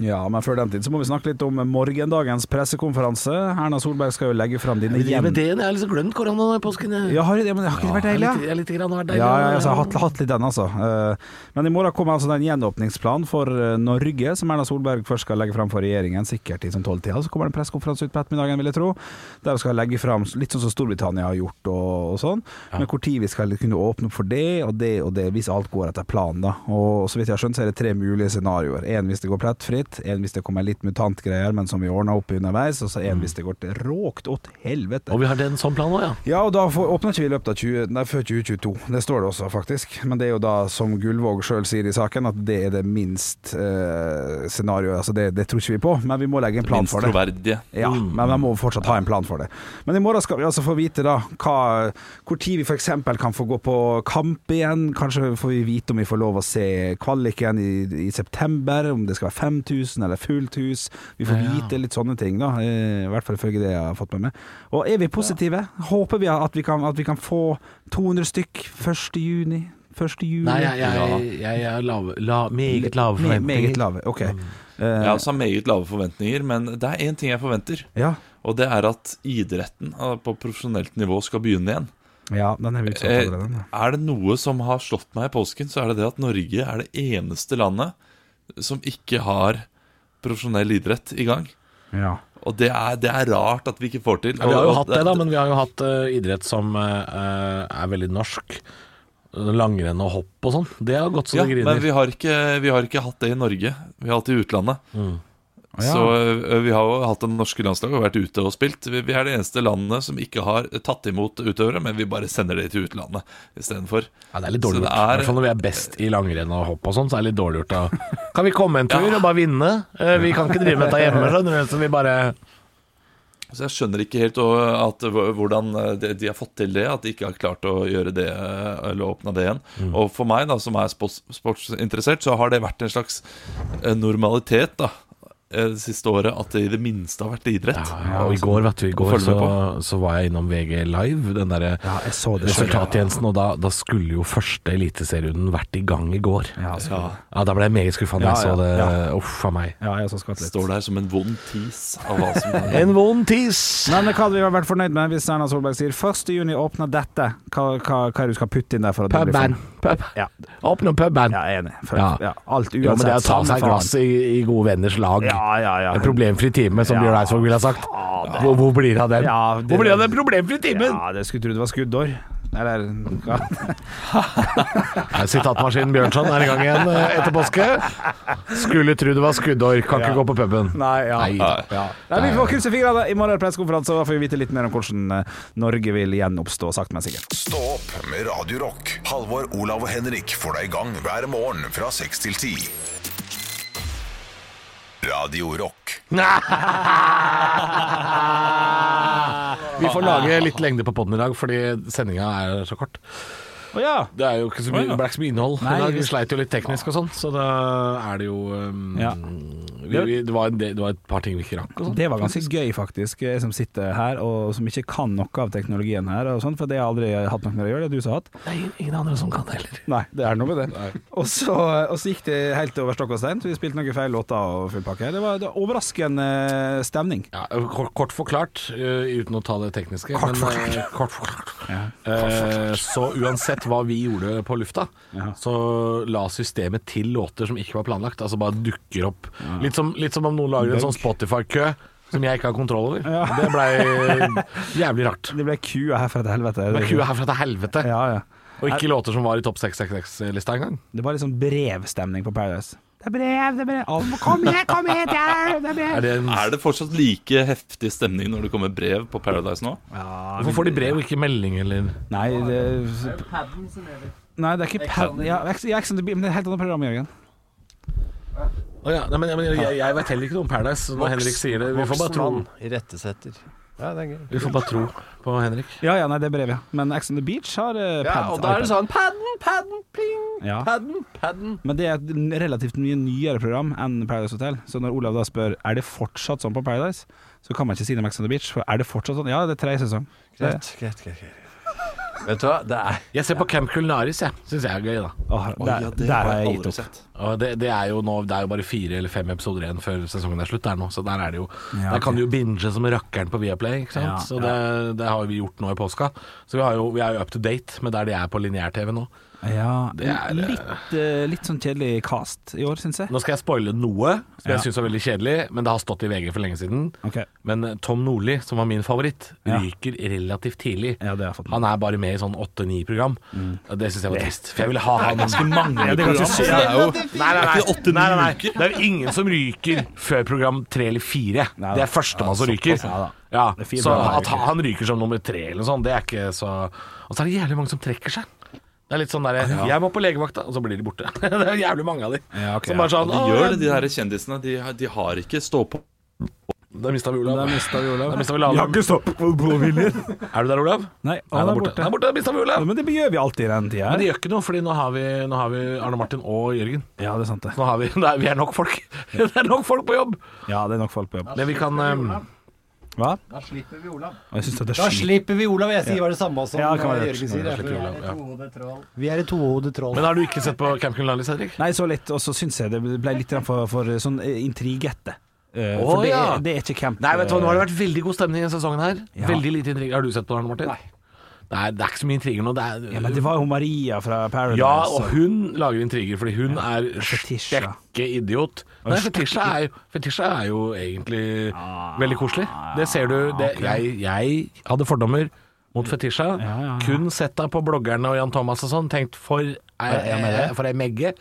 [SPEAKER 4] Ja, men før den tid så må vi snakke litt om morgendagens pressekonferanse. Erna Solberg skal jo legge fram dine
[SPEAKER 5] Men
[SPEAKER 4] igjen.
[SPEAKER 5] det, jeg har liksom glemt korona i påsken. Jeg.
[SPEAKER 4] Ja, har, ja, men det har ikke det vært deilig?
[SPEAKER 5] Jeg
[SPEAKER 4] ja?
[SPEAKER 5] har litt, jeg har litt grann vært deilig.
[SPEAKER 4] Ja, ja, altså, jeg har hatt, hatt litt den, altså. Eh, Men i morgen kommer altså den gjenåpningsplanen for eh, Norge, som Erna Solberg først skal legge fram for regjeringen, sikkert i sånn tolvtida. Så kommer det en pressekonferanse ut på ettermiddagen, vil jeg tro, der hun skal legge fram litt sånn som Storbritannia har gjort og, og sånn. Men hvor tid vi skal kunne åpne opp for det og det og det, hvis alt går etter planen, da. Og så vidt jeg har skjønt, så er det tre mulige scenarioer. Én hvis det går plettfritt, én hvis det kommer litt mutantgreier, men som vi ordna opp i underveis, og så én hvis det går til råkt åt helvete.
[SPEAKER 5] Og vi har den sånn plan òg, ja.
[SPEAKER 4] Ja, og da får, åpner ikke vi i løpet av 20, nei, før 2022. Det står det også, faktisk. Men det er jo da, som Gullvåg sjøl sier i saken, at det er det minst eh, scenarioet. Altså det, det tror ikke vi på, men vi må legge en plan
[SPEAKER 6] Minst
[SPEAKER 4] for det.
[SPEAKER 6] troverdige.
[SPEAKER 4] Ja,
[SPEAKER 5] Mm.
[SPEAKER 4] men man må fortsatt ha en plan for det. Men i morgen skal vi altså få vite da hva, hvor tid vi f.eks. kan få gå på kamp igjen. Kanskje får vi vite om vi får lov å se kvaliken i, i september, om det skal være 5000 eller fullt hus. Vi får vite litt sånne ting, da. eh, I hvert fall ifølge det jeg har fått med meg. Og er vi positive? Håper vi at vi kan, at vi kan få 200 stykk 1. juni? 1. juli?
[SPEAKER 5] Nei, jeg, jeg, jeg er lav, la, meget lave
[SPEAKER 4] Me- Meget
[SPEAKER 5] forventninger.
[SPEAKER 4] lave. Ok.
[SPEAKER 5] Eh.
[SPEAKER 6] Jeg har også meget lave forventninger, men det er én ting jeg forventer.
[SPEAKER 4] Ja.
[SPEAKER 6] Og det er at idretten eh, på profesjonelt nivå skal begynne igjen.
[SPEAKER 4] ja, den er vi utsatt
[SPEAKER 6] Eh,
[SPEAKER 4] for allerede.
[SPEAKER 6] Er det noe som har slått meg i påsken, så er det det at Norge er det eneste landet som ikke har profesjonell idrett i gang.
[SPEAKER 4] Ja.
[SPEAKER 6] Og det er, det er rart at vi ikke får til.
[SPEAKER 5] Ja, vi har jo
[SPEAKER 6] Og- og
[SPEAKER 5] hatt det, da, men vi har jo hatt eh, idrett som eh, er veldig norsk. Langrenn og hopp og sånn. Det har gått så
[SPEAKER 6] ja,
[SPEAKER 5] det
[SPEAKER 6] men
[SPEAKER 5] griner.
[SPEAKER 6] vi har, ikke, vi har ikke hatt det i Norge. Vi har hatt det i utlandet.
[SPEAKER 5] Mm.
[SPEAKER 4] ja.
[SPEAKER 6] Så ø, vi har jo hatt det norske landslaget og vært ute og spilt. Vi, vi er det eneste landet som ikke har tatt imot utøvere, men vi bare sender det til utlandet istedenfor.
[SPEAKER 5] Ja, det er litt
[SPEAKER 6] Så
[SPEAKER 5] dårlig
[SPEAKER 6] det
[SPEAKER 5] gjort. I
[SPEAKER 6] er-
[SPEAKER 5] hvert fall når vi er best i langrenn og hopp og sånn, så er det litt dårlig gjort. Da. Kan vi komme en tur og bare vinne? Eh, Vi kan ikke drive med dette hjemme, skjønner du. Så vi bare
[SPEAKER 6] Så jeg skjønner ikke helt ø, at, hv- hvordan ø, de, de har fått til det, at de ikke har klart å gjøre det ø, eller åpna det igjen.
[SPEAKER 5] Mm.
[SPEAKER 6] Og for meg, da, som er sports, sportsinteressert, så har det vært en slags ø, normalitet da ø, det siste året at det i det minste har vært idrett.
[SPEAKER 5] Ja, og i går, vet du, i går
[SPEAKER 6] følge
[SPEAKER 5] så,
[SPEAKER 6] med
[SPEAKER 5] så var jeg innom VG Live, den derre
[SPEAKER 4] Ja, jeg så det selv.
[SPEAKER 5] resultattjenesten, og da, da skulle jo første eliteserierunden vært i gang i går. Ja, da ble jeg meget skuffa da jeg
[SPEAKER 4] Ja, ja,
[SPEAKER 5] så det.
[SPEAKER 4] ja.
[SPEAKER 5] Uff a meg.
[SPEAKER 4] Ja, jeg har også skvatt litt.
[SPEAKER 6] Står der som en vond tis av hva som er
[SPEAKER 5] En vond tis!
[SPEAKER 4] Men hva hadde vi vært fornøyd med hvis Erna Solberg sier 1. juni åpner dette? Hva, hva, hva er det du skal putte inn der for at det blir
[SPEAKER 5] Puben.
[SPEAKER 4] for-
[SPEAKER 5] Pub.
[SPEAKER 4] Ja.
[SPEAKER 5] Åpne puben.
[SPEAKER 4] Ja, jeg er enig. For, ja.
[SPEAKER 5] Ja.
[SPEAKER 4] alt uansett.
[SPEAKER 5] Jo, men det er å ta
[SPEAKER 4] samme
[SPEAKER 5] seg et
[SPEAKER 4] faen.
[SPEAKER 5] glass i, i gode venners lag.
[SPEAKER 4] Ja, ja, ja.
[SPEAKER 5] En problemfri time, som
[SPEAKER 4] Ja,
[SPEAKER 5] Bjørn Eidsvåg ville ha sagt.
[SPEAKER 4] faen.
[SPEAKER 5] Hvor, hvor blir det av den?
[SPEAKER 4] Ja, det-
[SPEAKER 5] hvor blir det av den problemfrie timen?
[SPEAKER 4] Ja, det skulle tro det var skuddår. Eller ja.
[SPEAKER 5] Ja. Sitatmaskinen Bjørnson er i gang igjen eh, etter påske. Skulle tro det var skuddår, kan ikke gå på puben.
[SPEAKER 4] Nei, ja.
[SPEAKER 5] Nei da.
[SPEAKER 4] Nei, vi får krysse fingrene. I morgen er det pressekonferanse, og da får vi vite litt mer om hvordan eh, Norge vil gjenoppstå, sakte, men sikkert.
[SPEAKER 1] Stå opp med Radio Rock. Halvor, Olav og Henrik får deg i gang hver morgen fra 6 til 10. Radio Rock.
[SPEAKER 5] Vi får lage litt lengde på poden i dag, fordi sendinga er så kort.
[SPEAKER 4] Å ja.
[SPEAKER 5] Det er jo ikke så mye, det ble ikke så mye innhold.
[SPEAKER 4] Nei,
[SPEAKER 5] I dag
[SPEAKER 4] vi-
[SPEAKER 5] vi sleit jo litt teknisk og sånn, så da er det jo um,
[SPEAKER 4] Ja.
[SPEAKER 5] vi, vi, det, var en del, det var et par ting vi ikke rakk. Og sånn.
[SPEAKER 4] Det var ganske gøy, faktisk, eh, jeg som sitter her og som ikke kan noe av teknologien her, og sånt, for det har jeg aldri hatt noe med å gjøre, det har du som har hatt.
[SPEAKER 5] Det er ingen andre som kan det heller.
[SPEAKER 4] Nei, det er noe med det. Og så, og så gikk det helt over stokk og stein. så Vi spilte noen feil låter og full pakke. Det var, det var overraskende eh, stemning.
[SPEAKER 5] Ja, kort, kort forklart, eh, uten å ta det tekniske. Kort forklart. Men, eh, kort forklart. Eh, så uansett hva vi gjorde på lufta, så la systemet til låter som ikke var planlagt. Altså bare dukker opp. Litt, som, litt som om noen lager en sånn Spotify-kø som jeg ikke har kontroll over. Det blei jævlig rart.
[SPEAKER 4] Det ble kua herfra til helvete.
[SPEAKER 5] Men kua herfra til helvete,
[SPEAKER 4] Ja, ja.
[SPEAKER 5] og ikke låter som var i topp 666-lista engang.
[SPEAKER 4] Det var litt sånn brevstemning på Paradise. Det er brev, det er brev. Alle må- Kom hit, kom hit! Det er, det er brev.
[SPEAKER 5] Er det en,
[SPEAKER 6] Er det fortsatt like heftig stemning når det kommer brev på Paradise nå?
[SPEAKER 5] hvorfor får de brev og ikke melding, eller?
[SPEAKER 4] Nei, det er Nei, det er ikke pad... Ja, Ex- ja, Ex on the Beach, men det er et helt annet program, Jørgen.
[SPEAKER 5] Å ja, nei, men, men jeg, jeg vet heller ikke noe om Paradise, så når Henrik sier det Vi får bare tro,
[SPEAKER 7] Irettesetter. Ja, det er gøy.
[SPEAKER 5] vi får bare tro på Henrik.
[SPEAKER 4] Ja, ja, nei, det er brev, ja. Men Ex on the Beach har eh,
[SPEAKER 7] Ja,
[SPEAKER 4] pad.
[SPEAKER 7] og da er det
[SPEAKER 4] iPad.
[SPEAKER 7] sånn Padden, padden, pling,
[SPEAKER 4] Ja.
[SPEAKER 7] padden, padden.
[SPEAKER 4] Men det er et n- relativt mye nyere program enn Paradise Hotel. Så når Olav da spør Er det fortsatt sånn på Paradise, så kan man ikke si det med Ex on the Beach. For er det fortsatt sånn? Ja, det er tredje sesong. Det-
[SPEAKER 7] Greit, greit, greit. greit. Vet du hva, det er
[SPEAKER 5] Jeg ser på Camp Culinaris, jeg. Syns jeg er gøy, da.
[SPEAKER 4] Åh,
[SPEAKER 6] Oi,
[SPEAKER 4] der,
[SPEAKER 6] ja,
[SPEAKER 4] der har jeg gitt opp.
[SPEAKER 6] sett.
[SPEAKER 5] Og det, det er jo nå Det er jo bare fire eller fem episoder igjen før sesongen er slutt der nå, så der er det jo
[SPEAKER 4] Ja,
[SPEAKER 5] Der kan
[SPEAKER 4] ok.
[SPEAKER 5] du jo binge som rakkeren på Viaplay, ikke sant.
[SPEAKER 4] Ja,
[SPEAKER 5] så det, det har vi gjort nå i påska. Så vi, har jo, vi er jo up to date med der de er på lineær-TV nå.
[SPEAKER 4] Ja,
[SPEAKER 5] Det er, eh,
[SPEAKER 4] litt, eh, litt sånn kjedelig cast i år, syns jeg.
[SPEAKER 5] Nå skal jeg spoile noe som
[SPEAKER 4] Ja.
[SPEAKER 5] jeg syns var veldig kjedelig, men det har stått i VG for lenge siden.
[SPEAKER 4] Ok.
[SPEAKER 5] Men eh, Tom Nordli, som var min favoritt,
[SPEAKER 4] Ja.
[SPEAKER 5] ryker relativt tidlig.
[SPEAKER 4] Ja, det har jeg fått med.
[SPEAKER 5] Han er bare med i sånn åtte-ni program. Og Det syns jeg var trist. For jeg ville ha han ganske mange
[SPEAKER 4] det er ganske
[SPEAKER 5] program.
[SPEAKER 4] sykt.
[SPEAKER 5] Det er jo- Nei, nei, nei.
[SPEAKER 6] Det er ikke åtte-ni
[SPEAKER 5] Nei, nei, nei.
[SPEAKER 6] uker.
[SPEAKER 5] Det er jo ingen som ryker før program tre eller fire.
[SPEAKER 4] Nei,
[SPEAKER 5] Det
[SPEAKER 4] da.
[SPEAKER 5] er førstemann som ryker.
[SPEAKER 4] såpass, ja, da.
[SPEAKER 5] Ja,
[SPEAKER 4] Det er fire
[SPEAKER 5] så
[SPEAKER 4] program,
[SPEAKER 5] at
[SPEAKER 4] det er jo
[SPEAKER 5] han ryker som nummer tre eller noe sånt, det er ikke så Og så er det jævlig mange som trekker seg. Det er litt sånn derre 'Jeg må på legevakta', og så blir de borte. Det er jævlig mange av de.
[SPEAKER 4] Ah, Ja, ok,
[SPEAKER 5] som bare sånn
[SPEAKER 6] De
[SPEAKER 5] «Å,
[SPEAKER 6] gjør det, de her kjendisene. De, har- de har ikke stå på.
[SPEAKER 5] Da mista vi Olav.
[SPEAKER 4] Der mista vi Olav.
[SPEAKER 5] Da mistet vi Olav.
[SPEAKER 4] stoppet på blodviljen.
[SPEAKER 5] Er du der, Olav?
[SPEAKER 4] Nei,
[SPEAKER 5] Nei,
[SPEAKER 4] han
[SPEAKER 5] der
[SPEAKER 4] er
[SPEAKER 5] borte.
[SPEAKER 4] borte.
[SPEAKER 5] Der borte, der mistet vi
[SPEAKER 4] Ja,
[SPEAKER 5] Olav.
[SPEAKER 4] Men det gjør vi alltid i den tida.
[SPEAKER 5] Men det
[SPEAKER 4] her.
[SPEAKER 5] gjør ikke noe, fordi nå har vi, nå har vi Arne Martin og Jørgen.
[SPEAKER 4] Ja, det er sant, det.
[SPEAKER 5] Nå har vi, nei, vi er nok folk. Det er nok folk på jobb.
[SPEAKER 4] Ja, det er nok folk på jobb.
[SPEAKER 5] Men vi kan eh,
[SPEAKER 4] Hva?
[SPEAKER 8] Da slipper vi Olav.
[SPEAKER 4] Jeg synes det er
[SPEAKER 8] Da
[SPEAKER 4] slit-
[SPEAKER 8] slipper vi Olav. Jeg sier bare det samme som eh,
[SPEAKER 4] Ja, det kan være
[SPEAKER 8] Jørgen
[SPEAKER 4] lurt.
[SPEAKER 8] sier.
[SPEAKER 5] Da
[SPEAKER 8] jeg, for
[SPEAKER 5] slipper vi
[SPEAKER 8] vi er
[SPEAKER 5] Olav,
[SPEAKER 8] et
[SPEAKER 5] ja.
[SPEAKER 8] tohodet troll. Vi er et tohodet troll.
[SPEAKER 5] Men har du ikke sett på Camp Culinalis, Henrik?
[SPEAKER 4] Nei, så litt, og så syns jeg det ble litt grann for, for sånn eh, intrigette. Eh,
[SPEAKER 5] Å,
[SPEAKER 4] for det,
[SPEAKER 5] ja.
[SPEAKER 4] er- det er ikke camp. Eh,
[SPEAKER 5] Nei, vet du hva, nå har det vært veldig god stemning i sesongen her.
[SPEAKER 4] Ja.
[SPEAKER 5] Veldig lite intriger. Har du sett på det, Arne Martin? Nei. Det er, det er ikke så mye intriger nå. Det er,
[SPEAKER 4] ja, Men det var jo Maria fra Paradise.
[SPEAKER 5] Ja, og hun lager intriger, fordi hun er
[SPEAKER 4] Fetisha.
[SPEAKER 5] stekke idiot. Nei, Fetisha er, jo- Fetisha er jo egentlig
[SPEAKER 4] Ah.
[SPEAKER 5] veldig koselig. Det ser du. Det, jeg, jeg hadde fordommer mot Fetisha.
[SPEAKER 4] Ja, ja, ja.
[SPEAKER 5] Kun sett deg på bloggerne og Jan Thomas og sånn, tenkt for ei- for ei megge.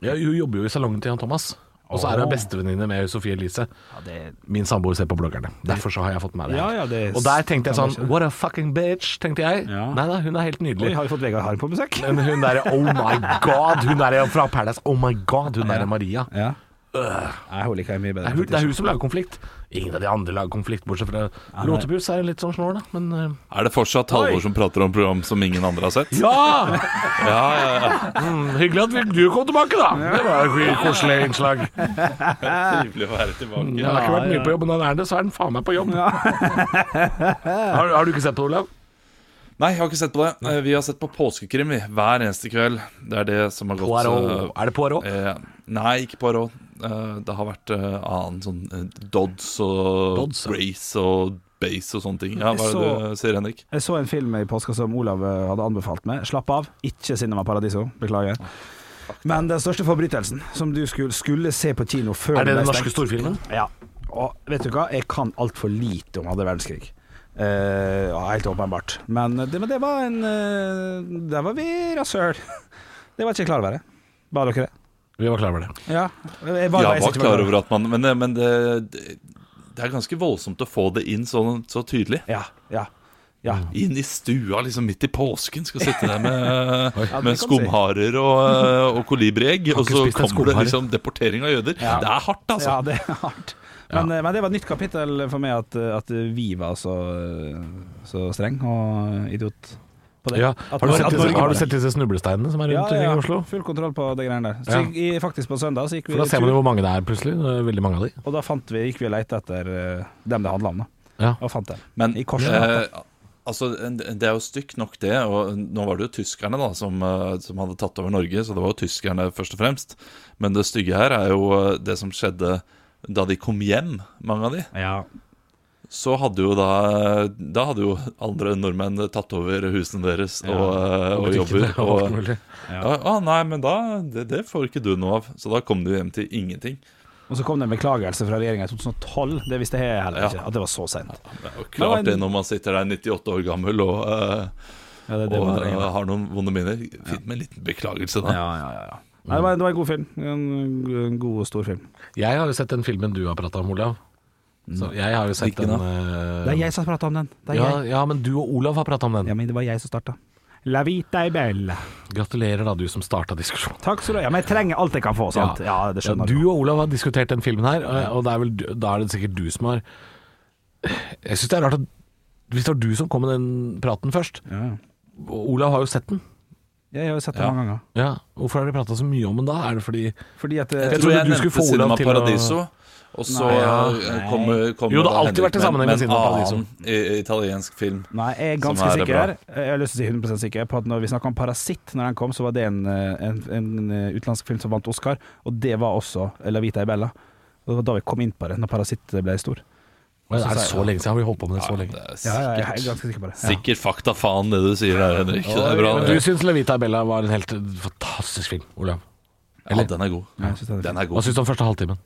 [SPEAKER 5] Ja, hun jobber jo i salongen til Jan Thomas. Og så er hun
[SPEAKER 4] Åh.
[SPEAKER 5] bestevenninne med Sofie Elise.
[SPEAKER 4] Ja, det-
[SPEAKER 5] Min samboer ser på bloggerne. Derfor så har jeg fått med det. her.
[SPEAKER 4] Ja, ja, det-
[SPEAKER 5] og der tenkte jeg
[SPEAKER 4] kan
[SPEAKER 5] sånn
[SPEAKER 4] jeg skjønne.
[SPEAKER 5] What a fucking bitch, tenkte jeg.
[SPEAKER 4] Ja.
[SPEAKER 5] Nei da, hun er helt nydelig.
[SPEAKER 4] Oi, har vi fått Vegard Harm på besøk?
[SPEAKER 5] Men hun derre Oh my god! Hun derre fra Paradise Oh my god! Hun derre Maria.
[SPEAKER 4] Ja. Nei, hun liker jeg mye
[SPEAKER 5] Det er,
[SPEAKER 4] bedre.
[SPEAKER 5] Øh. hun, det er hun som lager konflikt. Ingen av de andre lager konflikt, bortsett fra Låtepus er litt sånn snål, da. Men eh,
[SPEAKER 6] Er det fortsatt Halvor som prater om program som ingen andre har sett?
[SPEAKER 5] Ja!
[SPEAKER 6] Ja, ja, ja.
[SPEAKER 5] Mm, hyggelig at vi, du kom tilbake, da. Det var et hyggelig, koselig innslag.
[SPEAKER 6] Trivelig å være tilbake.
[SPEAKER 5] Jeg har ikke vært mye på jobb, men når han er det, så er han faen meg på jobb. Har, har du ikke sett på det, Olav?
[SPEAKER 6] Nei, jeg har ikke sett på det. Eh, Vi har sett på påskekrim vi, hver eneste kveld. Det er det som har gått
[SPEAKER 5] Poirot. Er det Poirot?
[SPEAKER 6] eh, eh, nei, ikke Poirot. Eh, det har vært eh, annen sånn eh, Dodds og
[SPEAKER 5] Dodds, ja.
[SPEAKER 6] Brace og Base og sånne ting. Ja,
[SPEAKER 4] Jeg
[SPEAKER 6] Hva er det
[SPEAKER 4] så-
[SPEAKER 6] du sier, Henrik?
[SPEAKER 4] Jeg så en film i påska som Olav eh, hadde anbefalt meg. Slapp av, ikke Cinema Paradiso. Beklager.
[SPEAKER 5] Ah,
[SPEAKER 4] Men den største forbrytelsen som du skulle, skulle se på kino før
[SPEAKER 5] Er det
[SPEAKER 4] ble
[SPEAKER 5] den
[SPEAKER 4] stengt-
[SPEAKER 5] norske storfilmen?
[SPEAKER 4] Ja. Og vet du hva, jeg kan altfor lite om andre verdenskrig. Eh, ja, helt åpenbart. Men det, men det var en eh, Der var vi rasøl. Det var ikke jeg klar over. jeg. Var dere det?
[SPEAKER 5] Vi var klar over det.
[SPEAKER 4] Ja. Jeg
[SPEAKER 6] Ja,
[SPEAKER 4] jeg
[SPEAKER 6] jeg var
[SPEAKER 4] ikke
[SPEAKER 6] klar over at man Men, eh, men det, det, det er ganske voldsomt å få det inn så, så tydelig.
[SPEAKER 4] Ja, ja, ja.
[SPEAKER 5] Mm.
[SPEAKER 6] Inn i stua liksom midt i påsken, skal sitte der med,
[SPEAKER 4] Ja, det kan
[SPEAKER 6] med
[SPEAKER 4] du si.
[SPEAKER 6] skumharer og, eh, og kolibriegg, og
[SPEAKER 5] ikke
[SPEAKER 6] så
[SPEAKER 5] spist en
[SPEAKER 6] kommer det
[SPEAKER 5] skumhare.
[SPEAKER 6] liksom deportering av jøder. Det er hardt, altså.
[SPEAKER 4] Ja, det er hardt. Men, eh, men det var et nytt kapittel for meg at, eh, at vi var så, eh, så streng og idiot på det.
[SPEAKER 5] Ja.
[SPEAKER 4] At
[SPEAKER 5] Har, du
[SPEAKER 4] Nor-
[SPEAKER 5] sett
[SPEAKER 4] at
[SPEAKER 5] disse,
[SPEAKER 4] Norge
[SPEAKER 5] har
[SPEAKER 4] var
[SPEAKER 5] du sett disse snublesteinene som er
[SPEAKER 4] det.
[SPEAKER 5] rundt
[SPEAKER 4] ja, ja,
[SPEAKER 5] omkring
[SPEAKER 4] ja.
[SPEAKER 5] i Oslo?
[SPEAKER 4] Full kontroll på de greiene der. Så
[SPEAKER 5] Ja.
[SPEAKER 4] gikk, i- faktisk på søndag så gikk vi
[SPEAKER 5] For da ser man
[SPEAKER 4] tur,
[SPEAKER 5] jo hvor mange det er plutselig. Det er Veldig mange av de.
[SPEAKER 4] og da fant vi, gikk vi og lette etter eh, dem det handla om. Da.
[SPEAKER 5] Ja.
[SPEAKER 4] Og fant dem.
[SPEAKER 6] Men
[SPEAKER 4] I Korsgata.
[SPEAKER 6] eh, altså, det er jo stygt nok, det. Og nå var det jo tyskerne da som, eh, som hadde tatt over Norge, så det var jo tyskerne først og fremst. Men det stygge her er jo eh, det som skjedde da de kom hjem, mange av de.
[SPEAKER 4] Ja.
[SPEAKER 6] Så hadde jo da Da hadde jo andre nordmenn tatt over husene deres og, eh, og jobber.
[SPEAKER 5] Butikkene og alt
[SPEAKER 6] Og,
[SPEAKER 5] mulig.
[SPEAKER 6] ja, ah, nei, men da det, det får ikke du noe av. Så da kom du hjem til ingenting.
[SPEAKER 4] Og så kom det en beklagelse fra regjeringa i 2012. Det visste jeg heller
[SPEAKER 6] Ja.
[SPEAKER 4] ikke, at det var så seint.
[SPEAKER 6] Det er jo
[SPEAKER 4] Men-
[SPEAKER 6] klart det når man sitter der 98 år gammel og, eh,
[SPEAKER 4] Ja, det, er det
[SPEAKER 6] og
[SPEAKER 4] man trenger.
[SPEAKER 6] eh, har noen vonde minner. Fint med en liten beklagelse, da.
[SPEAKER 4] ja, ja, ja, ja. Nei, det, var, det var en god film. En, en god og stor film.
[SPEAKER 5] Jeg har jo sett den filmen du har prata om, Olav. Så jeg har jo sett
[SPEAKER 6] Hvilken
[SPEAKER 5] den
[SPEAKER 6] da?
[SPEAKER 5] eh,
[SPEAKER 4] Det er jeg som har prata om den. Det er
[SPEAKER 5] ja,
[SPEAKER 4] jeg.
[SPEAKER 5] ja, men du og Olav har prata om den.
[SPEAKER 4] Ja, men det var jeg som starta. La vita e bella.
[SPEAKER 5] Gratulerer, da, du som starta diskusjonen.
[SPEAKER 4] Takk skal du ha. Ja, men jeg trenger alt jeg kan få, sant? Ja, det skjønner
[SPEAKER 5] du
[SPEAKER 4] du.
[SPEAKER 5] og Olav har diskutert den filmen her, og- og det er vel, du- da er det sikkert du som har Jeg syns det er rart at hvis det var du som kom med den praten først
[SPEAKER 4] Ja.
[SPEAKER 5] og Olav har jo sett den.
[SPEAKER 4] Jeg har jo sett det mange ganger.
[SPEAKER 5] Ja, Hvorfor har dere prata så mye om den da? Er det fordi
[SPEAKER 4] Fordi at eh,
[SPEAKER 5] Jeg
[SPEAKER 6] Jeg
[SPEAKER 5] trodde
[SPEAKER 6] tror jeg
[SPEAKER 5] du skulle
[SPEAKER 6] nevnte
[SPEAKER 5] få Olav
[SPEAKER 6] Cinema
[SPEAKER 5] til å-
[SPEAKER 6] Paradiso. Og så eh, kom, kom
[SPEAKER 5] Jo, det har
[SPEAKER 6] Olav
[SPEAKER 5] alltid vært
[SPEAKER 6] Henrik
[SPEAKER 5] en sammenheng med
[SPEAKER 6] med en
[SPEAKER 5] Cinema Paradiso.
[SPEAKER 6] annen i- italiensk film.
[SPEAKER 4] Nei, jeg er
[SPEAKER 6] Som
[SPEAKER 4] ganske
[SPEAKER 6] er det
[SPEAKER 4] sikker. Jeg har lyst til å si 100 sikker på at når vi snakka om 'Parasitt' Når den kom, så var det en, eh, en, en eh, utenlandsk film som vant Oscar, og det var også La Vita e Bella. Og Det var da vi kom inn på det, når 'Parasitt' eh, ble stor.
[SPEAKER 5] Men Er det så lenge siden? Har vi holdt på med det så
[SPEAKER 6] Det
[SPEAKER 5] lenge?
[SPEAKER 6] er
[SPEAKER 4] Ja, ja,
[SPEAKER 6] sikkert,
[SPEAKER 4] jeg er ganske sikker på det. Ja.
[SPEAKER 6] sikkert fakta faen det du sier der, Henrik. Det er bra.
[SPEAKER 5] Men du
[SPEAKER 6] det.
[SPEAKER 5] syns Levita Bella var en helt fantastisk film, Olav.
[SPEAKER 6] Ja, den er god.
[SPEAKER 4] Ja, jeg synes den er fin. Altså,
[SPEAKER 6] Den er
[SPEAKER 5] Hva
[SPEAKER 6] god.
[SPEAKER 5] syns du om første halvtimen?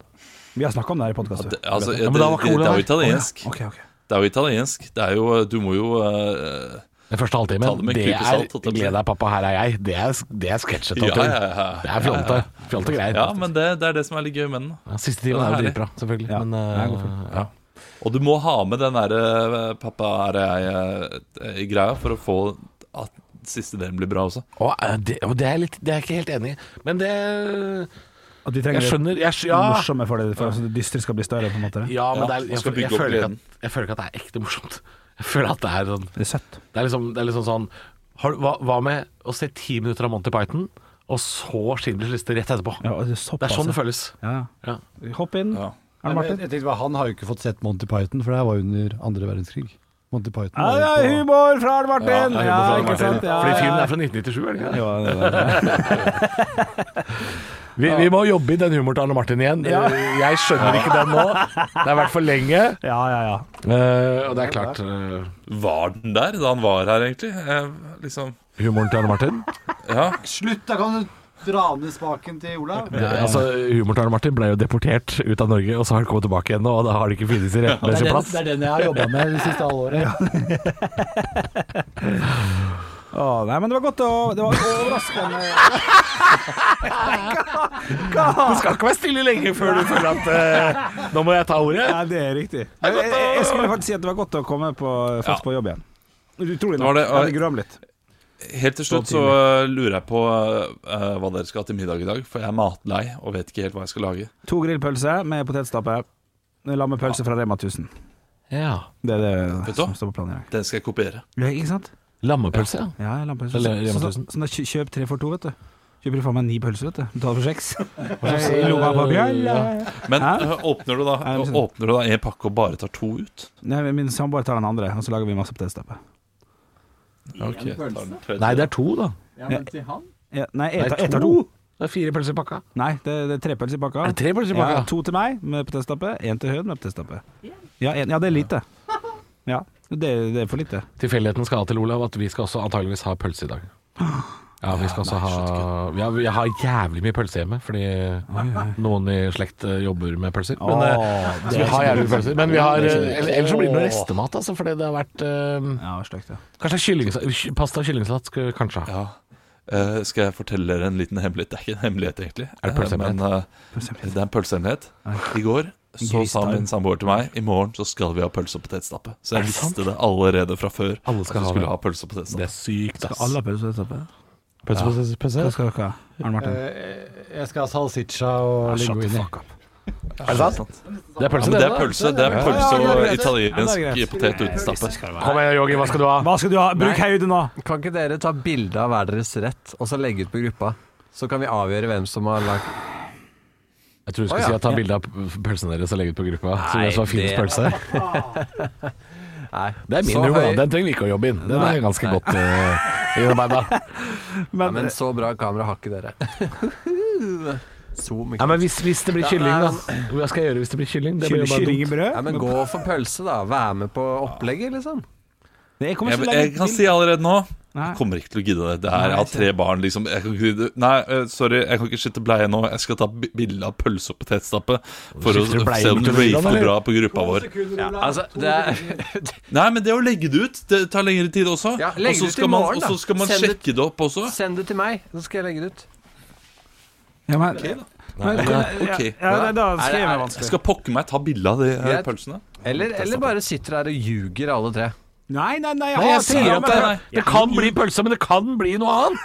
[SPEAKER 4] Vi har snakka om det her i podkasten.
[SPEAKER 6] Det- Altså, det,
[SPEAKER 5] men
[SPEAKER 6] det,
[SPEAKER 5] da var ikke Olav
[SPEAKER 6] det er jo
[SPEAKER 5] her.
[SPEAKER 6] italiensk.
[SPEAKER 4] Ok, ok.
[SPEAKER 6] Det er jo italiensk. Det er jo Du må jo eh,
[SPEAKER 5] Den første
[SPEAKER 6] Ta det
[SPEAKER 5] halvtimen,
[SPEAKER 6] med en
[SPEAKER 5] det
[SPEAKER 6] klype
[SPEAKER 5] er
[SPEAKER 6] salt, holdt jeg på å si.
[SPEAKER 5] 'Gled deg, pappa, her er jeg'. Det er, det er sketsjet og
[SPEAKER 6] Ja,
[SPEAKER 5] tull.
[SPEAKER 6] ja, ja.
[SPEAKER 5] Det er fjolte, fjolte greier.
[SPEAKER 6] Ja, men det, det er det som er litt gøy med den. da.
[SPEAKER 5] Ja, Siste timen
[SPEAKER 6] Ja,
[SPEAKER 5] er jo
[SPEAKER 6] herlig.
[SPEAKER 5] dritbra, selvfølgelig.
[SPEAKER 4] Ja,
[SPEAKER 5] Men,
[SPEAKER 4] det er en god film.
[SPEAKER 5] eh, ja.
[SPEAKER 6] Og du må ha med den derre pappa er jeg-greia for å få at siste delen blir bra også.
[SPEAKER 5] Og, eh, det, og det, er jeg litt, det er jeg ikke helt enig i. Men det
[SPEAKER 4] At vi trenger
[SPEAKER 5] Jeg skjønner. Jeg, skj-
[SPEAKER 4] det
[SPEAKER 5] ja,
[SPEAKER 4] morsomme for det, for at det dystre skal bli større, på en måte.
[SPEAKER 5] ja, men det er,
[SPEAKER 6] man
[SPEAKER 5] jeg,
[SPEAKER 6] skal
[SPEAKER 5] jeg,
[SPEAKER 6] bygge opp
[SPEAKER 5] føler ikke
[SPEAKER 6] gleden.
[SPEAKER 5] at, jeg føler ikke at det er ekte morsomt. Jeg føler at det er sånn
[SPEAKER 4] Det er søtt.
[SPEAKER 5] Det er liksom, det er liksom sånn har, du- hva, hva med å se ti minutter av Monty Python, og så Schindlers liste rett etterpå?
[SPEAKER 4] Ja, og det er
[SPEAKER 5] Det
[SPEAKER 4] såpass.
[SPEAKER 5] er sånn det føles.
[SPEAKER 4] Ja.
[SPEAKER 5] Ja.
[SPEAKER 4] Hopp inn.
[SPEAKER 6] Ja.
[SPEAKER 4] Er det
[SPEAKER 8] Jeg,
[SPEAKER 4] Martin?
[SPEAKER 8] jeg tenkte bare, Han har jo ikke fått sett Monty Python, for det her var jo under andre verdenskrig. Monty Python var jo på-
[SPEAKER 4] humor fra Arne Martin!
[SPEAKER 5] Ja,
[SPEAKER 4] ikke sant? Ja,
[SPEAKER 5] Fordi filmen
[SPEAKER 4] ja.
[SPEAKER 5] er fra 1997, er det ikke det?
[SPEAKER 4] Ja, det er det.
[SPEAKER 5] Vi, vi må jobbe i den humoren til Arne Martin igjen. Eh, Jeg skjønner ikke den nå. Det har vært for lenge.
[SPEAKER 4] ja, ja, ja.
[SPEAKER 5] Eh, og det er klart eh,
[SPEAKER 6] Var den der da han var her, egentlig? Eh, liksom
[SPEAKER 5] Humoren til Arne Martin
[SPEAKER 6] Ja.
[SPEAKER 8] Slutt, da kan du dra ned spaken til Olav.
[SPEAKER 5] Ja, altså, Humoren til Arne Martin ble jo deportert ut av Norge, og så har han kommet tilbake igjen nå, og da har det ikke funnet sin
[SPEAKER 8] Det er,
[SPEAKER 5] rettmessige
[SPEAKER 8] den,
[SPEAKER 5] plass.
[SPEAKER 8] det er den jeg har jobba med det siste halvåret.
[SPEAKER 4] Å, nei, men det var godt å Det var overraskende. Nei, hva? Hva?
[SPEAKER 5] Det skal ikke være stille lenge før du føler at eh, Nå må jeg ta ordet.
[SPEAKER 4] Nei, det er riktig. Jeg, jeg, jeg skulle faktisk si at det var godt å komme på, fast på jobb igjen. Utrolig
[SPEAKER 6] Var
[SPEAKER 4] nok.
[SPEAKER 6] det-
[SPEAKER 4] Jeg hadde grøm litt.
[SPEAKER 6] Helt til slutt så eh, lurer jeg på eh, hva dere skal ha til middag i dag, for jeg er matlei og vet ikke helt hva jeg skal lage.
[SPEAKER 4] To grillpølser med potetstappe. Lammepølse fra Rema 1000.
[SPEAKER 5] Ja.
[SPEAKER 4] Det er det
[SPEAKER 6] Vet du hva?
[SPEAKER 4] som står på planen i dag.
[SPEAKER 6] Den skal jeg kopiere.
[SPEAKER 4] Ja, ikke sant?
[SPEAKER 5] Lammepølse, ja.
[SPEAKER 4] Ja, lammepølse.
[SPEAKER 5] Eller Rema
[SPEAKER 4] Sånn-
[SPEAKER 5] 1000.
[SPEAKER 4] Sånn da kjø- kjøp tre for to, vet du. Kjøper du faen meg ni pølser, vet du. Betaler for seks.
[SPEAKER 5] slags,
[SPEAKER 4] I lomma på
[SPEAKER 5] ja.
[SPEAKER 4] bjella.
[SPEAKER 6] Men
[SPEAKER 4] Hæ?
[SPEAKER 6] eh, åpner du da
[SPEAKER 4] Nei, men-
[SPEAKER 6] Åpner du da en pakke og bare tar to ut?
[SPEAKER 4] Nei, men Min samboer tar den andre, og så lager vi masse potetstappe.
[SPEAKER 6] Ok, tar den tredje.
[SPEAKER 5] Nei, det er to, da.
[SPEAKER 4] Ja, nei,
[SPEAKER 5] Det
[SPEAKER 4] jeg
[SPEAKER 5] er
[SPEAKER 4] tar, jeg tar to.
[SPEAKER 5] Det er fire pølser i pakka.
[SPEAKER 4] Nei, det, det er tre pølser i pakka.
[SPEAKER 5] Er det tre pølser i pakka?
[SPEAKER 4] Ja, to til meg med potetstappe, én til Høen med potetstappe. Ja, en, ja, det er lite. Ja, det, det er for lite.
[SPEAKER 5] Tilfeldigheten skal ha til Olav at vi skal også antageligvis ha pølse i dag. Ja, vi skal også ha ja, Jeg har jævlig mye pølse hjemme, fordi noen i slekt eh, jobber med pølser. Men, eh, så vi har jævlig mye pølser. Men vi har eh, eller- Ellers så blir det noe restemat, altså, fordi det har vært eh,
[SPEAKER 4] Ja, sløkt, ja.
[SPEAKER 5] Kanskje kyllingsalat Pasta og kyllingsalat skulle vi kanskje ha.
[SPEAKER 6] Ja. Eh, skal jeg fortelle dere en liten hemmelighet? Det er ikke en hemmelighet, egentlig.
[SPEAKER 5] Er det pølsehemmelighet?
[SPEAKER 6] Eh, Men, eh, det er en pølsehemmelighet. I går så sa
[SPEAKER 4] Gristarm.
[SPEAKER 6] min samboer til meg I morgen så skal vi ha pølse og potetstappe. Så jeg visste det allerede fra før.
[SPEAKER 5] Alle skal ha
[SPEAKER 6] at vi
[SPEAKER 5] det.
[SPEAKER 6] skulle ha pølse og
[SPEAKER 5] Det er
[SPEAKER 6] potetstappe.
[SPEAKER 5] sykt, ass.
[SPEAKER 4] Alle har pølser i potetstappe.
[SPEAKER 5] Pølse, pølse, pølse.
[SPEAKER 4] Hva skal dere ha? Arne Martin.
[SPEAKER 8] Jeg skal ha salsiccia og
[SPEAKER 4] Shut the
[SPEAKER 8] linguini.
[SPEAKER 4] fuck up.
[SPEAKER 5] Er det sant? Det er pølse,
[SPEAKER 6] Men det
[SPEAKER 5] det.
[SPEAKER 6] er
[SPEAKER 5] da.
[SPEAKER 6] pølse Det er
[SPEAKER 4] Ja,
[SPEAKER 6] pølse
[SPEAKER 4] ja,
[SPEAKER 6] og
[SPEAKER 4] det er greit. Ja, det
[SPEAKER 6] italiensk
[SPEAKER 4] er greit.
[SPEAKER 6] potet uten stappe.
[SPEAKER 5] Kom igjen, Yogi, hva skal du ha?
[SPEAKER 4] Hva skal du ha? Bruk hodet nå!
[SPEAKER 7] Kan ikke dere ta bilde av hver deres rett, og så legge ut på gruppa? Så kan vi avgjøre hvem som har lagt
[SPEAKER 5] Jeg tror du
[SPEAKER 7] Å,
[SPEAKER 5] skulle
[SPEAKER 7] ja.
[SPEAKER 5] si at ta bilde av p- pølsene deres og legge ut på gruppa. Så hvem som har
[SPEAKER 7] Nei,
[SPEAKER 5] finest
[SPEAKER 7] det-
[SPEAKER 5] pølse.
[SPEAKER 7] Nei.
[SPEAKER 5] Det er min
[SPEAKER 7] så
[SPEAKER 5] humor, da.
[SPEAKER 7] høy-
[SPEAKER 5] Den trenger vi ikke å jobbe inn. Den er ganske godt uh, innarbeida.
[SPEAKER 7] Ja, men så bra kamera har ikke dere. Zoom,
[SPEAKER 5] Ja,
[SPEAKER 7] ikke
[SPEAKER 5] men hvis, hvis det blir kylling, da.
[SPEAKER 7] nei,
[SPEAKER 5] altså, Hva skal jeg gjøre hvis det blir kylling? Det blir jo bare
[SPEAKER 4] Kylling i
[SPEAKER 5] dumt.
[SPEAKER 4] brød?
[SPEAKER 7] Ja, men gå for pølse, da. Vær med på opplegget, liksom.
[SPEAKER 4] Jeg kommer
[SPEAKER 6] Jeg,
[SPEAKER 4] ikke så
[SPEAKER 6] jeg
[SPEAKER 4] lenge
[SPEAKER 6] kan si
[SPEAKER 4] til.
[SPEAKER 6] allerede nå
[SPEAKER 4] Nei.
[SPEAKER 6] jeg kommer ikke til å gidde det. det her, jeg har tre barn, liksom. Jeg kan ikke, nei, eh, sorry, jeg kan ikke skifte bleie nå. Jeg skal ta bi- bilde av pølse og potetstappe for å
[SPEAKER 5] Skifter du bleie
[SPEAKER 6] se om det
[SPEAKER 5] midt i middagen,
[SPEAKER 6] rater
[SPEAKER 5] eller?
[SPEAKER 6] bra på gruppa vår.
[SPEAKER 7] Altså, det er
[SPEAKER 6] Nei, men det å legge det ut Det tar lengre tid også.
[SPEAKER 7] Ja,
[SPEAKER 6] og
[SPEAKER 7] legg det
[SPEAKER 6] så
[SPEAKER 7] ut i
[SPEAKER 6] skal man,
[SPEAKER 7] morgen,
[SPEAKER 6] og
[SPEAKER 7] da.
[SPEAKER 6] så skal man
[SPEAKER 7] Send det-
[SPEAKER 6] sjekke det opp også.
[SPEAKER 7] Send det til meg, så skal jeg legge det ut.
[SPEAKER 4] Ja, men, men, ja,
[SPEAKER 6] Ok.
[SPEAKER 4] ja, nei, da skrev jeg
[SPEAKER 7] Er
[SPEAKER 4] vanskelig.
[SPEAKER 6] Jeg skal pokke meg ta bilde av de her
[SPEAKER 7] Greit.
[SPEAKER 6] pølsene.
[SPEAKER 7] Eller, eller bare sitter her og ljuger, alle tre.
[SPEAKER 4] Nei, nei, nei.
[SPEAKER 5] Nei, jeg sier at det,
[SPEAKER 4] altså, men-
[SPEAKER 5] det kan bli pølse, men det kan bli noe annet.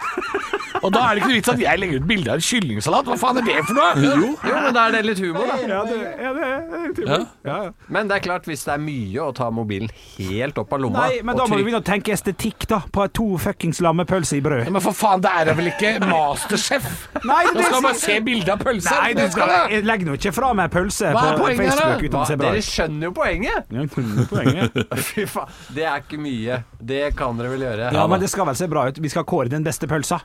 [SPEAKER 5] Og da er det ikke noe vits at jeg legger ut bilde av en kyllingsalat. Hva faen er det for noe?
[SPEAKER 7] Jo, men da er det litt humor, da.
[SPEAKER 4] Ja, det, ja, det, det, det,
[SPEAKER 6] Ja.
[SPEAKER 4] ja, ja.
[SPEAKER 7] Men det er klart, hvis det er mye å ta mobilen helt opp av lomma
[SPEAKER 4] Nei, men
[SPEAKER 7] og
[SPEAKER 4] da må du
[SPEAKER 7] trykke-
[SPEAKER 4] begynne å tenke estetikk, da. På to fuckings lammepølser i brød.
[SPEAKER 5] Men for faen, det er da vel ikke Masterchef?
[SPEAKER 4] Nei,
[SPEAKER 5] Nå
[SPEAKER 4] det
[SPEAKER 5] skal
[SPEAKER 4] sier-
[SPEAKER 5] man se bilde av pølse.
[SPEAKER 4] Nei, du
[SPEAKER 5] Det
[SPEAKER 4] skal
[SPEAKER 5] det.
[SPEAKER 4] Jeg legger nå ikke fra meg pølse
[SPEAKER 5] Hva er
[SPEAKER 4] på
[SPEAKER 5] poenget her,
[SPEAKER 4] Facebook
[SPEAKER 5] da?
[SPEAKER 4] uten å se
[SPEAKER 7] Hva?
[SPEAKER 4] bra
[SPEAKER 7] Dere
[SPEAKER 4] ut.
[SPEAKER 7] skjønner jo poenget!
[SPEAKER 4] Ja, poenget.
[SPEAKER 7] Fy faen. Det er ikke mye. Det kan dere vel gjøre.
[SPEAKER 4] Ja, men det skal vel se bra ut. Vi skal kåre den beste pølsa.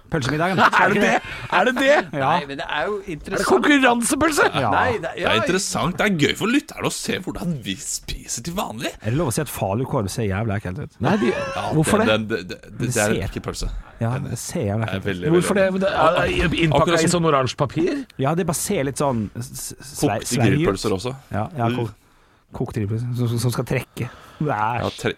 [SPEAKER 4] Pølsemiddagen.
[SPEAKER 5] Er det det? Er det det?
[SPEAKER 4] Ja.
[SPEAKER 7] Nei, men det er jo
[SPEAKER 5] Er det
[SPEAKER 7] interessant.
[SPEAKER 5] konkurransepølse?
[SPEAKER 7] Nei, det,
[SPEAKER 6] Det
[SPEAKER 7] ja,
[SPEAKER 6] er interessant. Det er gøy for lytterne å se hvordan vi spiser til vanlig.
[SPEAKER 4] Er det lov å si at falukorv ser jævla ekkelt ut?
[SPEAKER 5] Nei, de, hvorfor det?
[SPEAKER 6] Den, den, det, det, det er
[SPEAKER 4] ser.
[SPEAKER 6] ikke pølse.
[SPEAKER 4] Ja, det ser jævla
[SPEAKER 6] Det
[SPEAKER 4] ekkelt
[SPEAKER 6] er
[SPEAKER 4] ut.
[SPEAKER 6] veldig,
[SPEAKER 5] Hvorfor det?
[SPEAKER 6] veldig
[SPEAKER 5] det er Innpakka i sånn oransje papir?
[SPEAKER 4] Ja, det bare ser litt sånn s- s- svei-
[SPEAKER 6] Kokte
[SPEAKER 4] svei ut.
[SPEAKER 6] grillpølser også.
[SPEAKER 4] Ja, ja kok, kokt grillpølse som, som- som skal trekke.
[SPEAKER 6] Ja,
[SPEAKER 4] Æsj.
[SPEAKER 6] tre...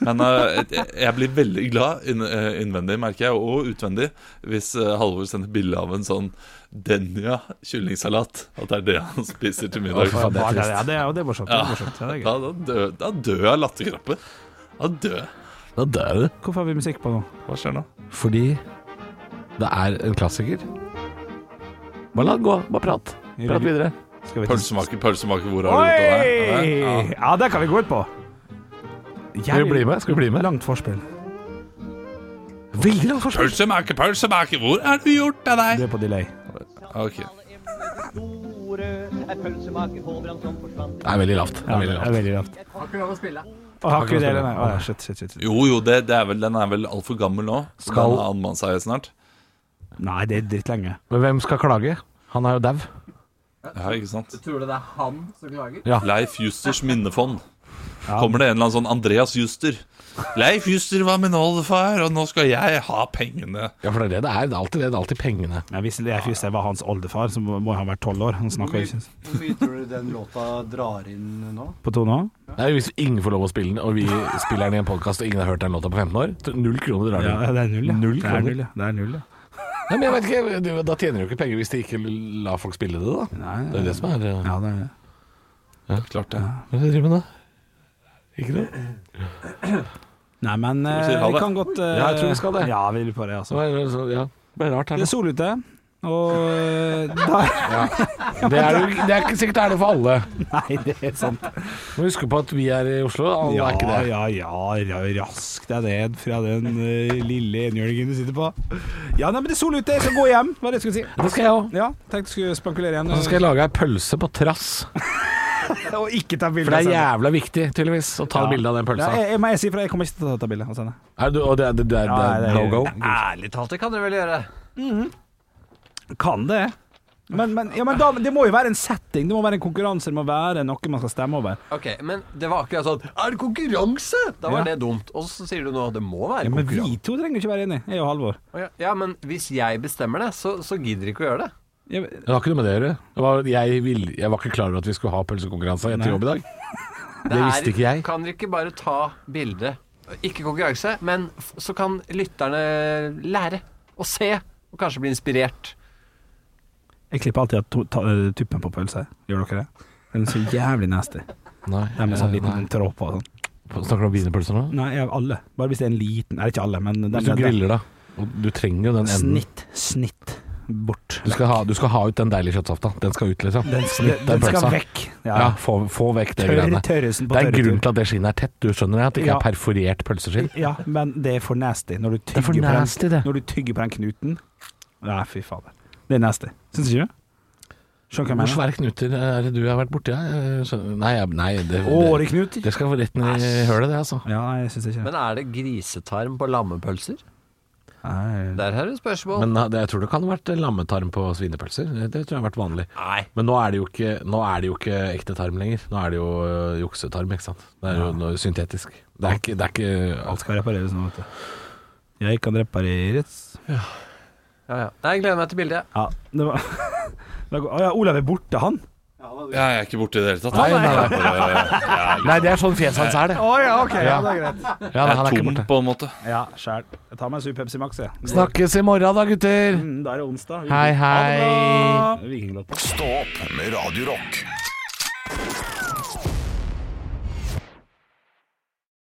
[SPEAKER 6] Men eh, jeg jeg blir veldig glad inn, eh, innvendig, merker jeg, og utvendig, hvis eh, Halvor sender bilde av en sånn Denja kyllingsalat. At det er det han spiser til middag.
[SPEAKER 4] Ja, det er- ja, det er- ja, det er morsomt. Det er morsomt. Ja, det er
[SPEAKER 6] Da,
[SPEAKER 4] gøy.
[SPEAKER 6] da, dør, da dør jeg av latterkrampe. Da dør jeg.
[SPEAKER 5] Da dør du.
[SPEAKER 4] Hvorfor har vi musikk på nå?
[SPEAKER 6] Hva skjer nå?
[SPEAKER 5] Fordi det er en klassiker. Bare la den gå. Bare prat. Prat videre.
[SPEAKER 4] Skal vi
[SPEAKER 6] Pølsemaker, pølsemaker, hvor har du gått av deg? Ja.
[SPEAKER 4] Oi! Ja, det kan vi gå ut på.
[SPEAKER 5] Skal vi bli med? Skal vi bli med?
[SPEAKER 4] Langt forspill.
[SPEAKER 5] Veldig langt forspill.
[SPEAKER 6] Pølsemaker, pølsemaker, hvor har du gjort av deg?
[SPEAKER 4] Det er på delay.
[SPEAKER 6] Ok,
[SPEAKER 5] Det er veldig lavt. Det
[SPEAKER 4] Ja,
[SPEAKER 5] er
[SPEAKER 4] det
[SPEAKER 5] veldig
[SPEAKER 4] er
[SPEAKER 5] lavt.
[SPEAKER 4] veldig lavt.
[SPEAKER 7] Har ikke lov å spille.
[SPEAKER 4] Å, har ikke vi det? Nei. Å, ja, shit, shit, shit. shit.
[SPEAKER 6] Jo, jo, det, det er vel, den er vel altfor gammel nå.
[SPEAKER 5] Skal-
[SPEAKER 6] Skal Den anmann seg snart.
[SPEAKER 4] Nei, det er drittlenge.
[SPEAKER 5] Men hvem skal klage? Han er jo dau.
[SPEAKER 6] Ja, ikke sant?
[SPEAKER 7] Tror du det er han som klager?
[SPEAKER 6] Leif Justers minnefond. Kommer det en eller annen sånn Andreas Juster? Leif Juster var min oldefar, og nå skal jeg ha pengene.
[SPEAKER 5] Ja, for det er det det er. Det er alltid det. Det er alltid pengene.
[SPEAKER 4] Ja, hvis Leif Juster var hans oldefar, så må må han være tolv år. Han snakker ikke
[SPEAKER 8] Hvor mye tror du den låta drar inn nå?
[SPEAKER 4] på to nå.
[SPEAKER 5] Det er jo Hvis ingen får lov å spille den, og vi spiller den i en podkast og ingen har hørt den låta på 15 år, så null kroner drar
[SPEAKER 4] Ja,
[SPEAKER 5] den.
[SPEAKER 4] det er null, ja.
[SPEAKER 5] Null
[SPEAKER 4] det er null, ja. Det er null, ja.
[SPEAKER 5] Nei, men jeg vet ikke, du, Da tjener du ikke penger hvis de ikke lar folk spille det, da. det er det som er eh,
[SPEAKER 4] ja det er det.
[SPEAKER 6] Klart det.
[SPEAKER 5] Hva er det du driver med da? Ikke noe?
[SPEAKER 4] Eh, Nei, men eh,
[SPEAKER 6] sier ha
[SPEAKER 4] vi
[SPEAKER 6] det?
[SPEAKER 4] kan godt eh,
[SPEAKER 5] Ja, jeg tror vi skal det.
[SPEAKER 4] Ja, vi lurer på det,
[SPEAKER 5] Så
[SPEAKER 4] altså.
[SPEAKER 5] er det så, ja. Det er rart her
[SPEAKER 4] Det
[SPEAKER 5] nå.
[SPEAKER 4] er sol ute, og eh, da-
[SPEAKER 5] Det er, jo- det er ikke sikkert det er det for alle.
[SPEAKER 4] Nei, det er sant.
[SPEAKER 5] Må huske på at vi er i Oslo. Alle
[SPEAKER 4] Ja,
[SPEAKER 5] er ikke det.
[SPEAKER 4] ja, ja, ja, raskt er det fra den eh, lille enhjørningen du sitter på. Ja, nei, men det er sol ute, jeg skal gå hjem, var det jeg skulle si.
[SPEAKER 5] Det skal jeg òg.
[SPEAKER 4] Ja, tenkte jeg skulle spankulere igjen. eh,
[SPEAKER 5] Og så skal jeg lage ei pølse på trass.
[SPEAKER 4] Og ikke ta bilde.
[SPEAKER 5] For det er
[SPEAKER 4] og sende.
[SPEAKER 5] jævla viktig, tydeligvis, å ta
[SPEAKER 4] Ja.
[SPEAKER 5] bilde av den pølsa.
[SPEAKER 4] Ja, jeg, jeg, må jeg si fra, jeg kommer ikke til å ta bilde og sende.
[SPEAKER 5] Er du, og det, er- det, det,
[SPEAKER 4] Ja,
[SPEAKER 5] det er
[SPEAKER 4] det er-
[SPEAKER 5] no go?
[SPEAKER 7] Ærlig talt, det kan dere vel gjøre.
[SPEAKER 4] Kan det. Men, men, ja, men da, det må jo være en setting, det må være en konkurranse, det må være noe man skal stemme over.
[SPEAKER 7] Ok, Men det var akkurat sånn Er det konkurranse?! Da var
[SPEAKER 4] Ja.
[SPEAKER 7] det dumt. Og så sier du nå det må være
[SPEAKER 4] Ja, men vi
[SPEAKER 7] konkurranse.
[SPEAKER 4] to trenger jo ikke være enige, jeg og Halvor.
[SPEAKER 7] Å ja. ja, men hvis jeg bestemmer det, så, så gidder ikke å gjøre det.
[SPEAKER 4] Jeg,
[SPEAKER 5] Det har ikke noe med det å gjøre. Det var- Jeg, vil- jeg var ikke klar over at vi skulle ha pølsekonkurranse etter jobb i dag.
[SPEAKER 7] Det,
[SPEAKER 5] visste ikke jeg.
[SPEAKER 7] Kan dere ikke bare ta bilde? Ikke konkurranse, men f så kan lytterne lære og se, og kanskje bli inspirert.
[SPEAKER 4] jeg klipper alltid av to- ta- øh, tuppen på pølsa. Gjør dere det? Den er så jævlig nasty.
[SPEAKER 5] Nei,
[SPEAKER 4] Den med sånn
[SPEAKER 5] eh, nei.
[SPEAKER 4] liten tråd på og sånn.
[SPEAKER 5] Snakker du om wienerpølser nå?
[SPEAKER 4] Nei, jeg, alle. Bare hvis det er en liten Nei, ikke alle, men den
[SPEAKER 5] Hvis du
[SPEAKER 4] den- den-
[SPEAKER 5] griller, da. og Du trenger jo den enden.
[SPEAKER 4] Snitt, snitt bort.
[SPEAKER 5] Du skal ha, du skal ha ut den deilige kjøttsafta. Den skal ut, liksom.
[SPEAKER 4] Den,
[SPEAKER 5] Snitt den
[SPEAKER 4] den skal
[SPEAKER 5] pølsa.
[SPEAKER 4] vekk.
[SPEAKER 5] Ja, få, få vekk det
[SPEAKER 4] Tørr-
[SPEAKER 5] greiene.
[SPEAKER 4] tørresen på
[SPEAKER 5] Det er en
[SPEAKER 4] tørretur.
[SPEAKER 5] grunn til at det skinnet er tett. Du skjønner det? At det ikke
[SPEAKER 4] Ja.
[SPEAKER 5] er perforert pølseskinn.
[SPEAKER 4] Ja, men det er for nasty når du tygger,
[SPEAKER 5] for nasty,
[SPEAKER 4] på, den,
[SPEAKER 5] det.
[SPEAKER 4] når du tygger på den knuten. Nei, fy fader. Det er nasty. Syns ikke du? Skjønner
[SPEAKER 5] Hvor
[SPEAKER 4] hva jeg mener?
[SPEAKER 5] svære knuter er det du har vært borti? jeg skjønner- Nei, jeg- nei det, det,
[SPEAKER 4] Åreknuter.
[SPEAKER 5] det skal være rett ned i hølet, det, altså.
[SPEAKER 4] Ja, nei, jeg syns ikke det.
[SPEAKER 7] Men er det grisetarm på lammepølser?
[SPEAKER 4] Nei.
[SPEAKER 7] Der er det spørsmål.
[SPEAKER 5] Men eh, det, jeg tror det kan ha vært lammetarm på svinepølser. Det, det tror jeg har vært vanlig.
[SPEAKER 7] Nei.
[SPEAKER 5] Men nå er det jo ikke, nå er det jo ikke ekte tarm lenger. Nå er det jo eh, juksetarm, ikke sant. Det er jo noe syntetisk. Det er ikke, det er ikke
[SPEAKER 4] Alt skal repareres nå, vet du. Jeg kan repareres.
[SPEAKER 7] Ja, ja. Nei, jeg gleder meg til bildet.
[SPEAKER 4] Ja, det var Da går- Å ja, Olav er borte, han.
[SPEAKER 6] Ja, jeg er ikke borte i det hele tatt.
[SPEAKER 5] Nei, nei, nei.
[SPEAKER 6] Bare,
[SPEAKER 5] Nei, det er sånn fjeset hans er, det.
[SPEAKER 4] Å ja, OK.
[SPEAKER 5] ja,
[SPEAKER 4] det er greit.
[SPEAKER 5] Ja, nei,
[SPEAKER 6] jeg
[SPEAKER 5] han er
[SPEAKER 6] er
[SPEAKER 5] ikke
[SPEAKER 6] tom
[SPEAKER 5] borte.
[SPEAKER 6] på en måte.
[SPEAKER 4] Ja, sjæl. Jeg tar meg en sur Pepsi Max, jeg.
[SPEAKER 5] Snakkes i morgen da, gutter.
[SPEAKER 4] Mm, Da er det onsdag.
[SPEAKER 5] Hei, hei.
[SPEAKER 4] Vikinglotto.
[SPEAKER 1] Stå opp med Radio Rock.